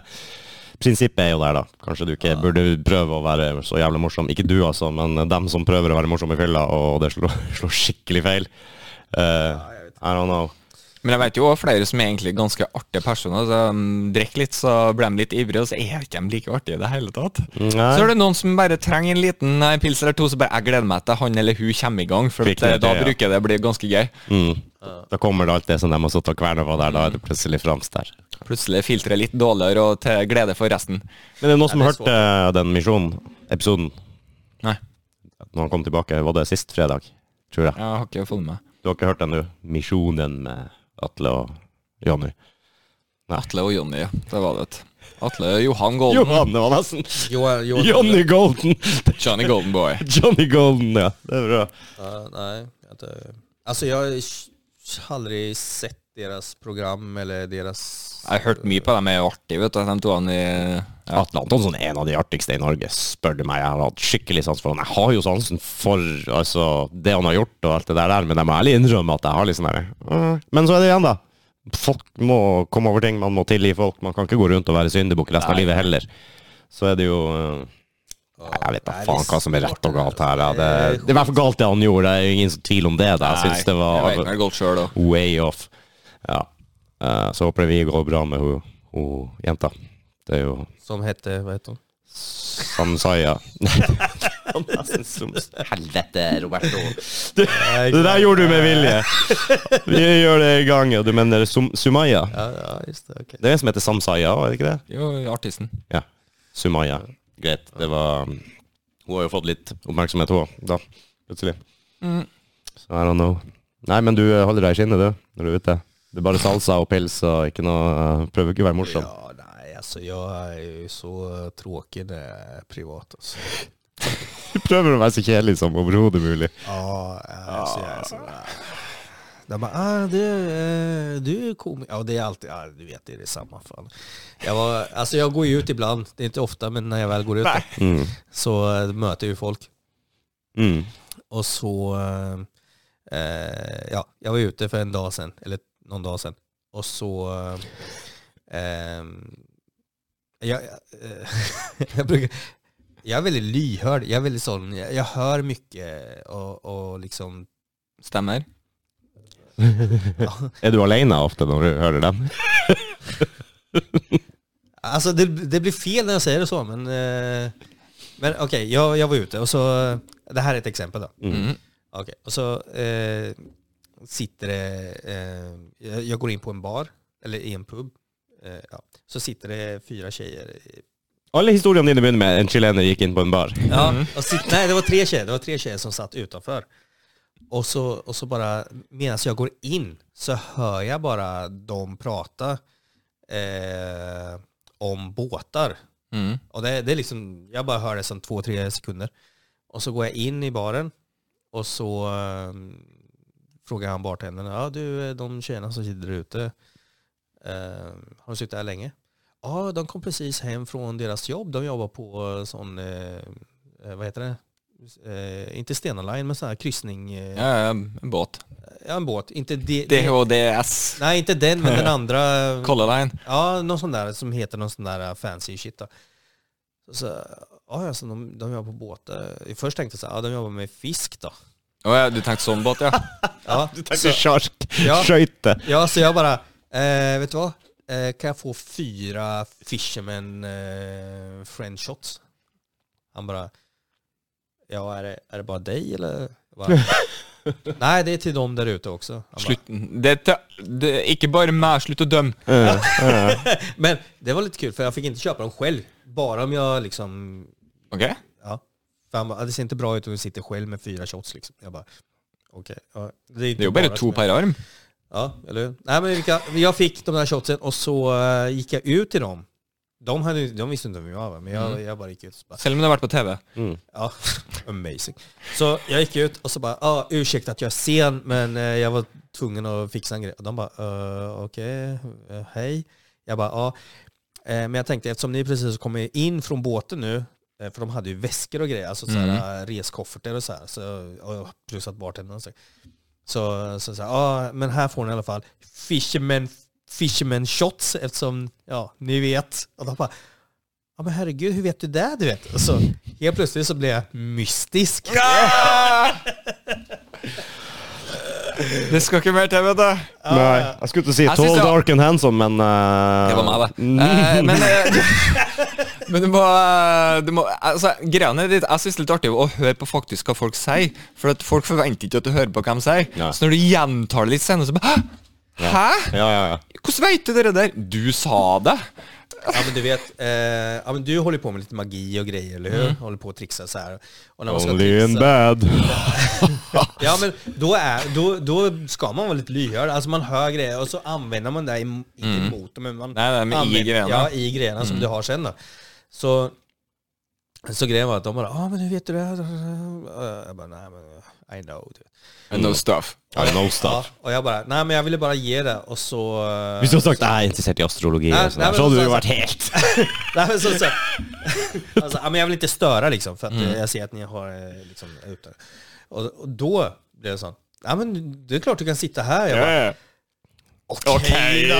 prinsippet er jo der, da. Kanskje du ikke burde prøve å være så jævlig morsom. Ikke du, altså, men dem som prøver å være morsom i fylla, og det slår, [LAUGHS] slår skikkelig feil. Eh, I don't know. Men jeg vet jo også flere som er egentlig ganske artige personer. Så um, drikker litt, så blir de litt ivrige, og så er ikke de like artige i det hele tatt. Nei. Så er det noen som bare trenger en liten eh, pils eller to, så bare jeg gleder meg til han eller hun kommer i gang, for Fikk at, eh, det til, da ja. bruker det å bli ganske gøy. Mm. Da kommer det sånn alt det som de har satt og kverna på der, da Mm. er det plutselig framst der. Plutselig filtrer litt dårligere, og til glede for resten. Men det er noen som Ja, har det er hørt eh, den Misjonen-episoden Nei, når han kom tilbake, var det sist fredag? Tror jeg. jeg har ikke fått med meg. Du har ikke hørt den, du? Misjonen med Atle og Jonny. Atle og Jonny, ja. det var det. vet du. Atle og Johan Golden. Johanne var nesten Johan, Johan, [LAUGHS] Johnny Golden! Johnny Golden Boy. Johnny Golden, ja. Det er bra. Ja, nej, jag inte. Alltså jag har aldrig sett deras program eller deras... Jeg har hørt mye på dem, er jo artig, vet du. De to han i ja. Atle Antonsson er en av de artigste i Norge, spør du meg. Jeg har hatt skikkelig sans for han. Jeg har jo sansen for altså, det han har gjort og alt det der, der, men jeg må ærlig innrømme at jeg har litt sånn derre «Åh». Men så er det igjen, da. Folk må komme over ting, man må tilgi folk. Man kan ikke gå rundt og være syndebukk resten av livet heller. Så er det jo eh, Nei, Jeg vet da Nei, det faen hva som er rett og galt her. Ja. Det, det er i hvert fall galt det han gjorde, det er jo ingen som tvil om det. Da. Jeg syns det Jeg vet var meg godt selv, da. way off. Ja. Eh, Så håper jeg vi går bra med hun, hun jenta. Det er jo Som hette, vad heter hon? Samsaya. Helvete, Roberto. [LAUGHS] Nej, Det der gjorde du med vilje. Vi gjør det i gang. ja. Du mener Sum Sumaya? Ja, ja, just det. okej. Det er en som heter Samsaya, er det ikke det? Jo, artisten. Ja. Sumaya. Greit. Det var um, Hun har jo fått litt oppmerksomhet, hun òg, da. Plutselig. Mm. Så I don't know. Nei, men du eh, holder deg i skinnet, du, når du er ute. Det er bare salsa og pils og ikke noe eh, Prøver ikke å være morsom. Ja, nej, alltså jag är ju så tråkig när jag är privat. Alltså. Du prøver å være så kjedelig som overhodet mulig. Ja, alltså jag är så... De bara, ah, du, eh, du är komiker. Ja, det är alltid, ja, du vet, det är det samma. Fan. Jag, var, alltså jag går ju ut ibland, det är inte ofta, men när jag väl går ut Mm. så eh, möter jag ju folk. Mm. Och så, eh, eh, ja, jag var ute för en dag sedan, eller någon dag sedan. Och så, eh, eh, jag, eh, [LAUGHS] jag, brukar, jag är väldigt lyhörd, jag är väldigt sån, jag, jag hör mycket och, och liksom, Stemmer. Er du alene ofte når du hører dem? alltså altså, det, det blir fel när jag säger det så, men, eh, men okej, jag, jag var ute och så, det här är ett exempel då. Mm. Okej, och så eh, sitter det, eh, jag- jag går in på en bar, eller i en pub, eh, ja. så sitter det fyra tjejer. i- Alle historiene dine begynner med en chilener gikk inn på en bar. Ja, Mm. och sit, nej det var tre tjejer, det var tre tjejer som satt utanför. Och så, och så bara, medan jag går in så hör jag bara dem prata eh, om båtar. Mm. Och det, det är liksom, jag bara hör det som två, tre sekunder. Och så går jag in i baren och så eh, frågar han bartendern, ja du, eh, de tjejerna som sitter där ute, eh, har de suttit här länge? Ja, de kom precis hem från deras jobb. De jobbar på eh, sån, eh, eh, vad heter det? Eh, inte Stena Line, men sån här kryssning. Eh, ja. Ja, ja, en båt. en båt. Inte de, DHDS. Nej, inte den, men den andra. eh, Color Line. Ja, någon sån där som heter någon sån där äh, fancy shit då. Så, så, ja, alltså, de, de jobbar på båtar. Först tänkte jag så här, ja, de jobbar med fisk då. Å ja, du tenkte sånn båt, ja. Ja, [LAUGHS] Så sjark, Ja. skøyte. ja så jag bara, eh, vet du vad? Eh, kan jag få fyra fisherman eh, french shots? Han bara, ja, är det, är det bara dig eller? Jag bara, Nej, det är till dem där ute också. Han bara, Slutt det, er til- det, er Ikke bare meg, slutt å dømme. Men det var lite kul, för jag fick inte köpa dem själv. Bara om jag liksom... Ok? Ja. För han bara, "Ah, det ser inte bra ut om du sitter själv med fyra shots liksom. Jag bara, okej. ja, det, inte Det er jo bare som to jag- per arm. Ja, eller hur? Nej, men vilka, jag fick de där shotsen och så eh, gick jag ut till dem. De, hade, de visste inte vem jag var, men jag, jag bara gick ut och så bara, Selv om det har vært på TV. ja, amazing. Så jag gick ut och så bara, ah, ursäkta att jag är sen, men eh, jag var tvungen att fixa en grej. Och de bara, eh, okej, eh, hej. Jag bara, ja. Eh, men jag tänkte, eftersom ni precis kommer in från båten nu, eh, för de hade ju väskor och grejer, alltså såhär, eh, reskofferter och så här, så, och plus att bartendern och så. Så, så, så ja, ah, men här får ni i alla fall fisherman, fisherman shots eftersom, ja, ni vet. Och de bara, ja men herregud, hur vet du det? Du vet? Och så helt plötsligt så blev jag mystisk. Det skal ikke mer til, vet du. Nei, jeg skulle til å si Jeg synes tall, det var- dark and handsome, men eh, Det var meg, det. Eh, men [LAUGHS] eh, men du må, eh, du må altså, greiene ditt, Jeg syns det er litt artig å høre på faktisk hva folk sier. For at folk forventer ikke at du hører på hva de sier. Nei. Så når du gjentar det litt senere, så bare Hæ? Hæ? Ja, ja, ja. Hvordan veit du det der? Du sa det! Ja men du vet, eh, ja, men du håller på med lite magi och grejer, eller Mm. hur? Håller på och trixar så här. Och när man ska Only in trixa, bad. Ja men då, är, då, då ska man vara lite lyhörd, alltså man hör grejer och så använder man det em- inte emot dem, men man Mm. Nej, nej, men i använder- grejerna. Mm. Ja, i grejerna som du har sen då. Så, så grejen var att de bara ah men hur vet du det? Jag bara nej men I know. du vet." No stuff. I know Ja, stuff. och jag bara nej men jag ville bara ge det och så... eh, Hvis du hadde sagt jeg er interessert i astrologi, Nei, og sånn der, nei, men så hadde så- du jo vært helt Nej, men så, så, alltså, ja, men jag vill inte störa liksom, för att Mm. eh, jag ser att ni har eh, liksom, ute. Och, och då blev det sånt. Ja, men det är klart du kan sitta här. Jag bara, okej då.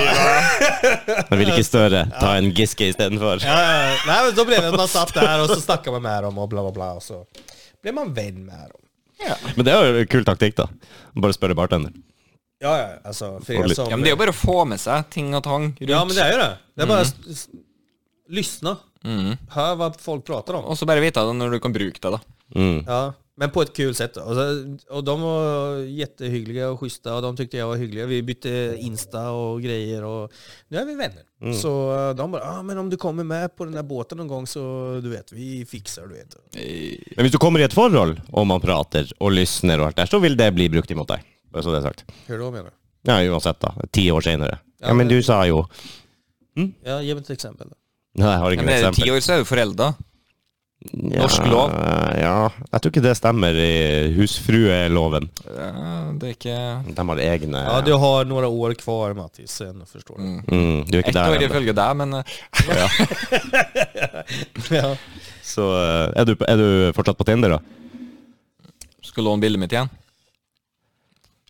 Men vil ikke større. Ta en Giske istedenfor. Ja, ja, ja. Nej, men då blev det att man satt där och så snackade man med dem och bla bla bla. Och så blev man vän med dem. Men det er jo en kul taktikk, da. Bare spørre bartender. Ja, ja, alltså för Och er li- som... Ja, men Det Mm. er jo bare å få med seg ting og tang rundt. ja, men det är ju det. Det är bara att s- s- lyssna. Mm. Hör vad folk pratar om. Og så bare vite det når du kan bruke det. da Ja, men på ett kul sätt. Och, så, och Altså, de var jättehyggliga och schyssta och de tyckte jag var hygglig. Vi bytte Insta och grejer och nu är vi vänner. Så eh, de bara, ah, men om du kommer med på den där båten någon gång så du vet, vi fixar du vet. Men hvis du kommer i et forhold, og man prater og lysner og alt der, så vil det bli brukt imot deg. Bare så det er sagt. Hur då menar du? Ja, uansett, da. Ti år senere. Ja, men du sa jo [LAUGHS] Ja, ge mig ett exempel. då. Nei, jeg har Ja, ingen men er det ti eksempel. år, så er du forelda. norsk Ja, lov? Ja. Jeg tror ikke det stemmer i husfrueloven. Ja, det er ikke De har egne Ja, du har några år kvar Mattis, sen förstår du. mm, Du er ikke Ett år der ennå. ifølge deg, men eh, Ja. Så eh, er du, på- er du fortsatt på [LAUGHS] Tinder, da? skal låne bildet mitt igjen.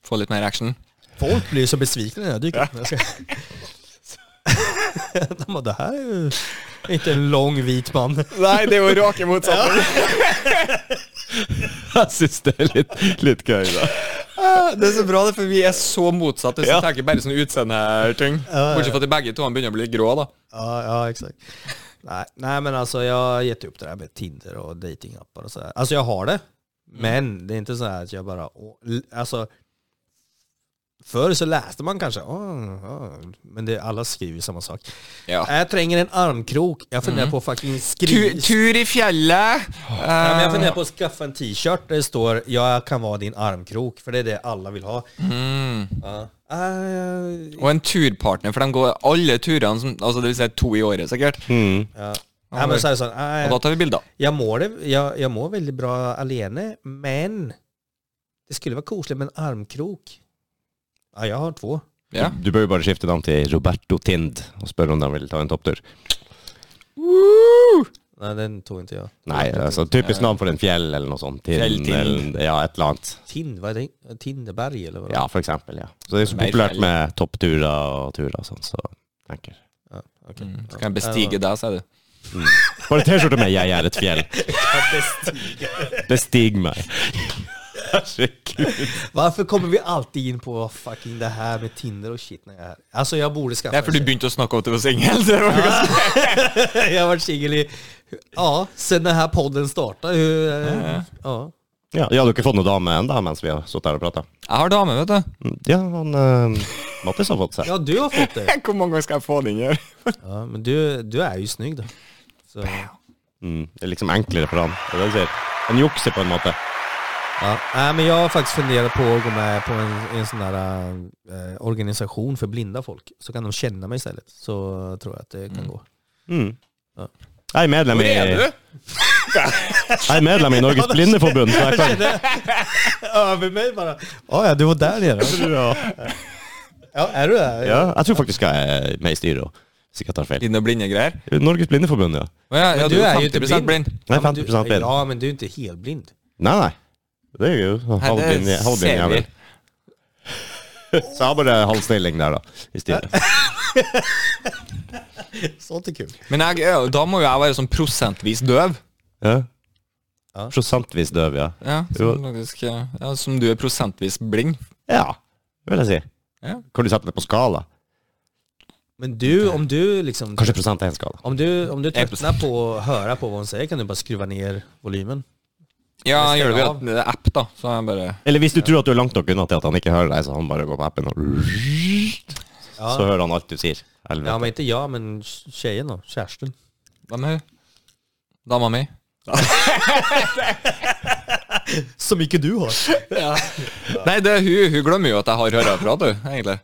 Få litt mer action. Folk blir ju så besvikna när jag dyker upp. Jag ska- [LAUGHS] De bara, det här är ju inte en lång vit man. Nei, det er jo rake [LAUGHS] motsatte. Jeg syns det er litt, litt gøy, da. Det er så bra, det, for vi er så motsatte. Så Ja. jeg tenker bare sånn utseendeting. Bortsett fra at de begge to han begynner å bli grå, da. Ja, ja exakt. Nej, nej men alltså jag har gett upp det där med Tinder och datingappar och sådär. Alltså jag har det, men det är inte så här att jag bara... å- l- Alltså, förr så läste man kanske, åh, åh, men det, alla skriver ju samma sak. Ja. Jag tränger en armkrok, jag funderar på att fucking skriva... Tu, tur i fjellet. Ja, men Eh, jag funderar på att skaffa en t-shirt där det står jag kan vara din armkrok, för det är det alla vill ha. Ja. Äh, Eh, hmm. og en turpartner, for de går alle turene som Altså det vil si to i året, sikkert. Mm. nej, men så är det så, här, Og äh, da tar vi bilder. Jag mår, det, jag, jag mår väldigt bra alene, men det skulle vara kosligt med en armkrok. Ja, jag har två. Ja. Du bør jo bare skifte navn til Roberto Tind og spørre om de vil ta en topptur. Nej, den tog inte jag. Nei, altså typisk navn for en fjell eller noe sånt. Tind, Fjelltind. eller- Ja, et eller annet. Tind, vad är det? Tinderberg eller vad det Ja, for eksempel. Ja. Så det er så Mer populært fjell. med toppturer og turer og sånn, så tenker jeg. var? Ja, okay. Mm, Så kan jeg bestige deg, sier du. Bare T-skjorte med 'Jeg er et fjell'. Det stiger meg. Herregud. Varför kommer vi alltid in på fucking det här med Tinder og shit när jag är här? Alltså jag borde skaffa Det er fordi du en begynte å snakke om at du var [LAUGHS] singel. [LAUGHS] tjej. Jag har varit singel i, ja, sen den här podden startade. Hur, ja. Ja, ja, du har ikke fått noen dame ennå mens vi har sittet her og prata? Jeg har dame, vet du. Ja, han eh, Mattis har fått seg. Ja, du har [LAUGHS] fått det. Hvor mange ganger skal jeg få den her? Ja, men du, du er jo snygg, da. Så, Mm, det er liksom enklere for han. Det er det han sier. Han jukser på en måte. ja. Nej, men jag har faktiskt funderat på att gå med på en, en sån där eh, organisation för blinda folk. Så kan de känna mig istället. Så tror jag att det kan gå. Mm. Ja. Jeg er medlem i, jeg er medlem i [LAUGHS] Norges Blindeforbund, så jeg kan Över mig bara. Ja, ja, du var där nere. [LAUGHS] Ja, är du där? ja, Jeg tror faktisk jeg er med i styret òg, hvis ikke jeg tar feil. Dine blinde greier. Norges Blindeforbund, ja. Å ja, ja, Men du, du er er jo ikke 50 blind. Nei, men du, 50% blind. Ja, men du är inte helt blind. Nei, nei. Det er jo Nei, halvblind det halvblind ser vi. [LAUGHS] jævel. Så jeg har bare halv stilling der, da. I styret. Sånt är kul. Men jeg, er jo- da må jo jeg være sånn prosentvis døv. Ja. Ja. Prosentvis døv, ja. Ja, Jo. som, faktisk, ja, ja, som du er prosentvis blind. Ja, det vil jeg si. Ja. Kan du sette det på skala? Men du, om du liksom... Kanskje prosent er en skala. Om du, om du tröttnar på att höra på vad hon säger kan du bara skruva ner volymen. Ja, jeg gjør det Stell ved at- app, da. Så er jeg bare Eller hvis du tror at du er langt nok unna til at han ikke hører deg, så han bare går på appen og Ja. Så hører han alt du sier. Helvete. Ja, men inte jag, men tjejen då. Kerstin. Hvem er hun? Dama mi. Så mycket du har. Nei, det er hun. Hun glemmer jo at jeg har høreapparat, hun, egentlig.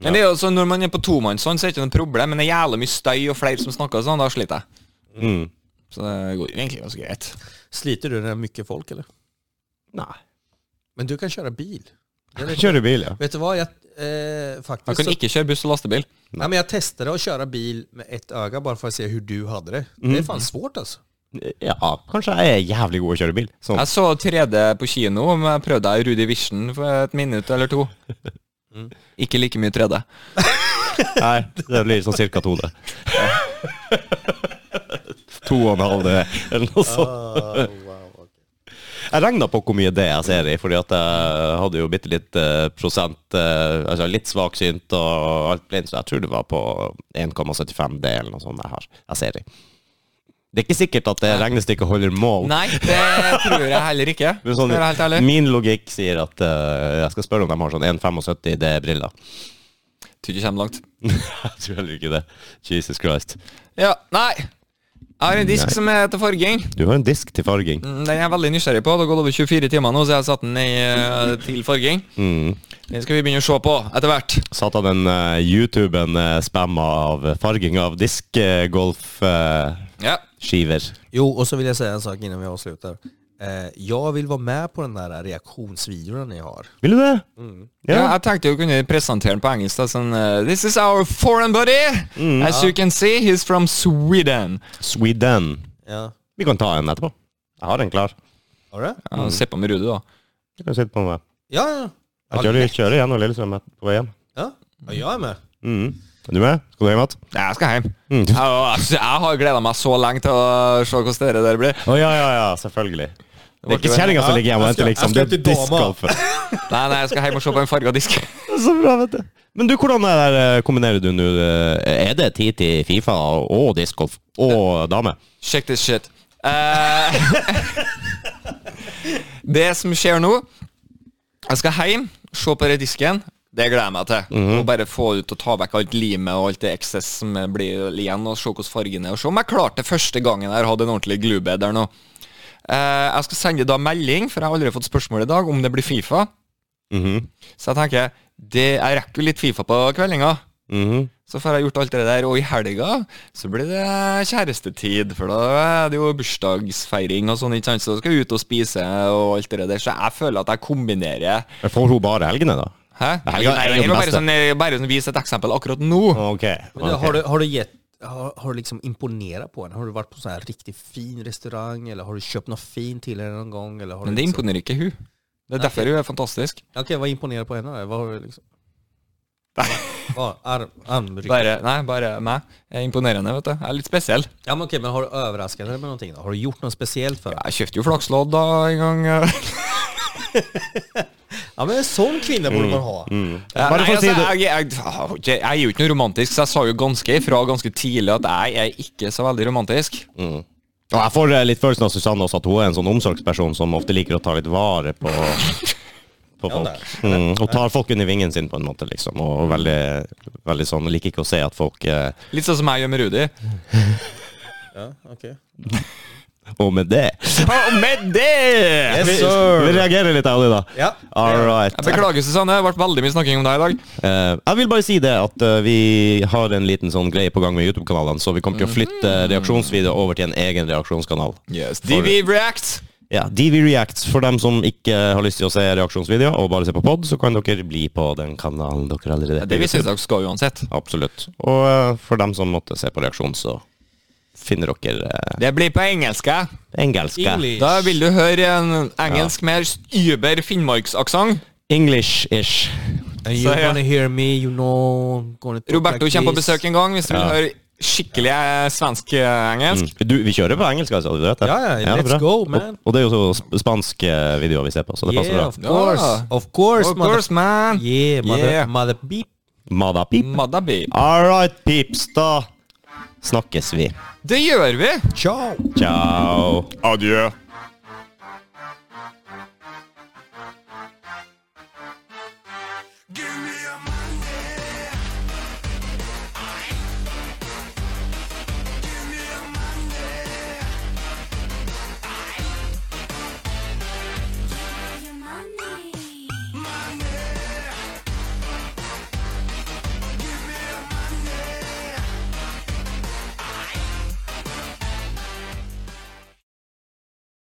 Men det er jo sånn, når man er på tomannshånd, så er det ikke noe problem, men det er jævlig mye støy og flere som snakker sånn, da sliter jeg. mm. Så det går jo egentlig ganske greit. Sliter du när det är mycket folk eller? Nei. Men du kan köra bil. Kjører bil, ja. Vet du vad, jag, eh, Man faktiskt kan så, ikke kjøre buss og lastebil. ja, men jag testade att köra bil med ett öga bara för att se hur du hade det. Det är fan svårt alltså. Ja, kanskje jeg er jævlig god å kjøre bil. Sånn. Jeg så 3D på kino, men jeg prøvde jeg Rudi Vision for et minutt eller to. Mm. Ikke like mye 3D. Nei, det blir sånn cirka to, det. to og en halv, det, eller noe sånt. Jeg regna på hvor mye det jeg ser i, fordi at jeg hadde jo bitte litt eh, prosent eh, Altså litt svaksynt og alt blindt, så jeg tror det var på 1,75 D eller noe sånt jeg har. Jeg ser i. Det er ikke sikkert at det regnestykket holder mål. Nei, det tror jeg heller ikke. Men sånn, for å være helt ærlig. min logikk sier at eh, jeg skal spørre om de har sånn 1,75 D-briller. [LAUGHS] Tror ikke jeg kommer langt. jeg tror heller ikke det. Jesus Christ. Ja, nei. Jeg har en disk Nei. som er til farging. Du har en disk til farging. Mm, Den er jeg veldig nysgjerrig på. Det har gått over 24 timer nå, så jeg har satt den i, eh, til farging. Mm. Den skal vi begynne å se på etter hvert. Satt av den eh, YouTuben uh, spamma av farging av diskgolfskiver. Ja. Jo, och så vill jag säga en sak innan vi avslutar. Eh, jag vill vara med på den där reaktionsvideon ni har. Vil du det? Ja. Ja. jeg tenkte å kunne presentere den på engelsk. Da, sånn, eh, This is our foreign buddy. Mm. As you can see, he's from Sweden. Sweden. Ja. Vi kan ta en etterpå. Jeg har en klar. Har du? Ja, Mm. Se på med Rudi, da. Du kan sitte på meg. Ja, ja. Jeg kjører, kjører gjennom Lillestrøm et- på vei hjem. Ja, ja jag är med. Mm. Er du med? Skal du hjem igjen? Nei, jeg skal hjem. Mm. Jeg, altså, jeg har gleda meg så lenge til å se hvordan dere der blir. Å ja, ja, ja. Selvfølgelig. Det er ikke Det var ikke- kjerringa som ligger hjemme og Jeg skal- venter, liksom. Det jeg skal er til dama. diskgolfen. Nei, nei, jeg skal hjem og se på en farga disk. [LAUGHS] Så bra, vet du. Men du, hvordan er det, der, eh, kombinerer du nå eh, Er det tid til Fifa og diskgolf og dame? Check this shit. Eh, [LAUGHS] det som skjer nå Jeg skal hjem, se på den disken. Det gleder jeg meg til. Og bare få ut og ta vekk alt limet og alt det excess som blir igjen, og se hvordan fargen er. Og se om jeg klarte det første gangen jeg hadde en ordentlig glube der nå. Eh, jeg skal sende da melding, for jeg har aldri fått spørsmål i dag, om det blir Fifa. Mhm. Så jeg tenker det, jeg rekker jo litt Fifa på kveldinga. Mhm. Så får jeg gjort alt det der, og i helga så blir det kjærestetid, for da er det jo bursdagsfeiring og sånn, ikke sant, så skal jeg ut og spise og alt det der, så jeg føler at jeg kombinerer Men Får hun bare helgene, da? Hæ? Helga er Nei, jo jeg det vil bare, beste. sånn, jeg vil bare sånn vise et eksempel akkurat nå. Ok. Men du, har, du, har, du gett, har, har du liksom imponerat på henne? Har du varit på sån här riktigt fin restaurang? Eller har du köpt något fint till henne någon gång? Eller har Men du det liksom... imponerer ikke hun. Det er derfor hun er fantastisk. Okej, vad imponerar på henne? då? Vad har du liksom... Vad? Arm, armryck? Bare, nei, bare meg. Jeg er imponerende, vet du. Jeg er litt spesiell. Ja men okej, men har du överraskat henne med någonting då? Har du gjort något speciellt för henne? Jeg kjøpte jo flakslodd da en gang. [LAUGHS] Ja men en sån kvinna Mm, borde man ha. Ja, Bare nei, for å si altså, det. jeg, jeg, jeg, jeg er jo ikke noe romantisk, så jeg sa jo ganske ifra ganske tidlig at jeg er ikke så veldig romantisk. Og jeg får eh, litt følelsen av Susanne også, at hun er en sånn omsorgsperson som ofte liker å ta litt vare på, på Ja, det folk. Mm, og tar folk under vingen sin, på en måte, liksom. Og veldig, veldig sånn Liker ikke å se at folk eh, Litt sånn som jeg gjør med Rudi. Ja, ok. Og med det Og med det! Yes, Vi, sir. vi reagerer litt av det, da. Ja. All right. Jeg beklager, Susanne. Det har vært veldig mye snakking om deg i dag. Eh, jeg vil bare si det at eh, vi har en liten sånn greie på gang med YouTube-kanalene, så vi kommer til å flytte reaksjonsvideo over til en egen reaksjonskanal. Yes, DV React. Ja, DV Reacts, for dem som ikke har lyst til å se reaksjonsvideo og bare se på pod, så kan dere bli på den kanalen dere allerede Det vi er. syns dere skal uansett. Absolutt. Og eh, for dem som måtte se på reaksjon, så finner dere eh, Det blir på engelsk. ja. engelske. English. Da vil du høre en engelsk med über finnmarksaksent. English-ish. And Så, you're ja. gonna hear me, you know I'm gonna talk Roberto like kommer på this. besøk en gang hvis du vil Ja. høre skikkelig eh, svensk eh, engelsk. Du, vi kjører på engelsk, altså. Du vet det? Ja, ja, let's bra. go, man. Og, og det er jo så sp- spanske videoer vi ser på, så det passer bra. Yeah, of course. Ja. Of course, Of course, man. mother. Yeah, mother, Yeah. mother beep. Mada pip. Madda babe. All right, peeps, da snakkes vi. Det gjør vi. Ciao. Ciao. Adjø.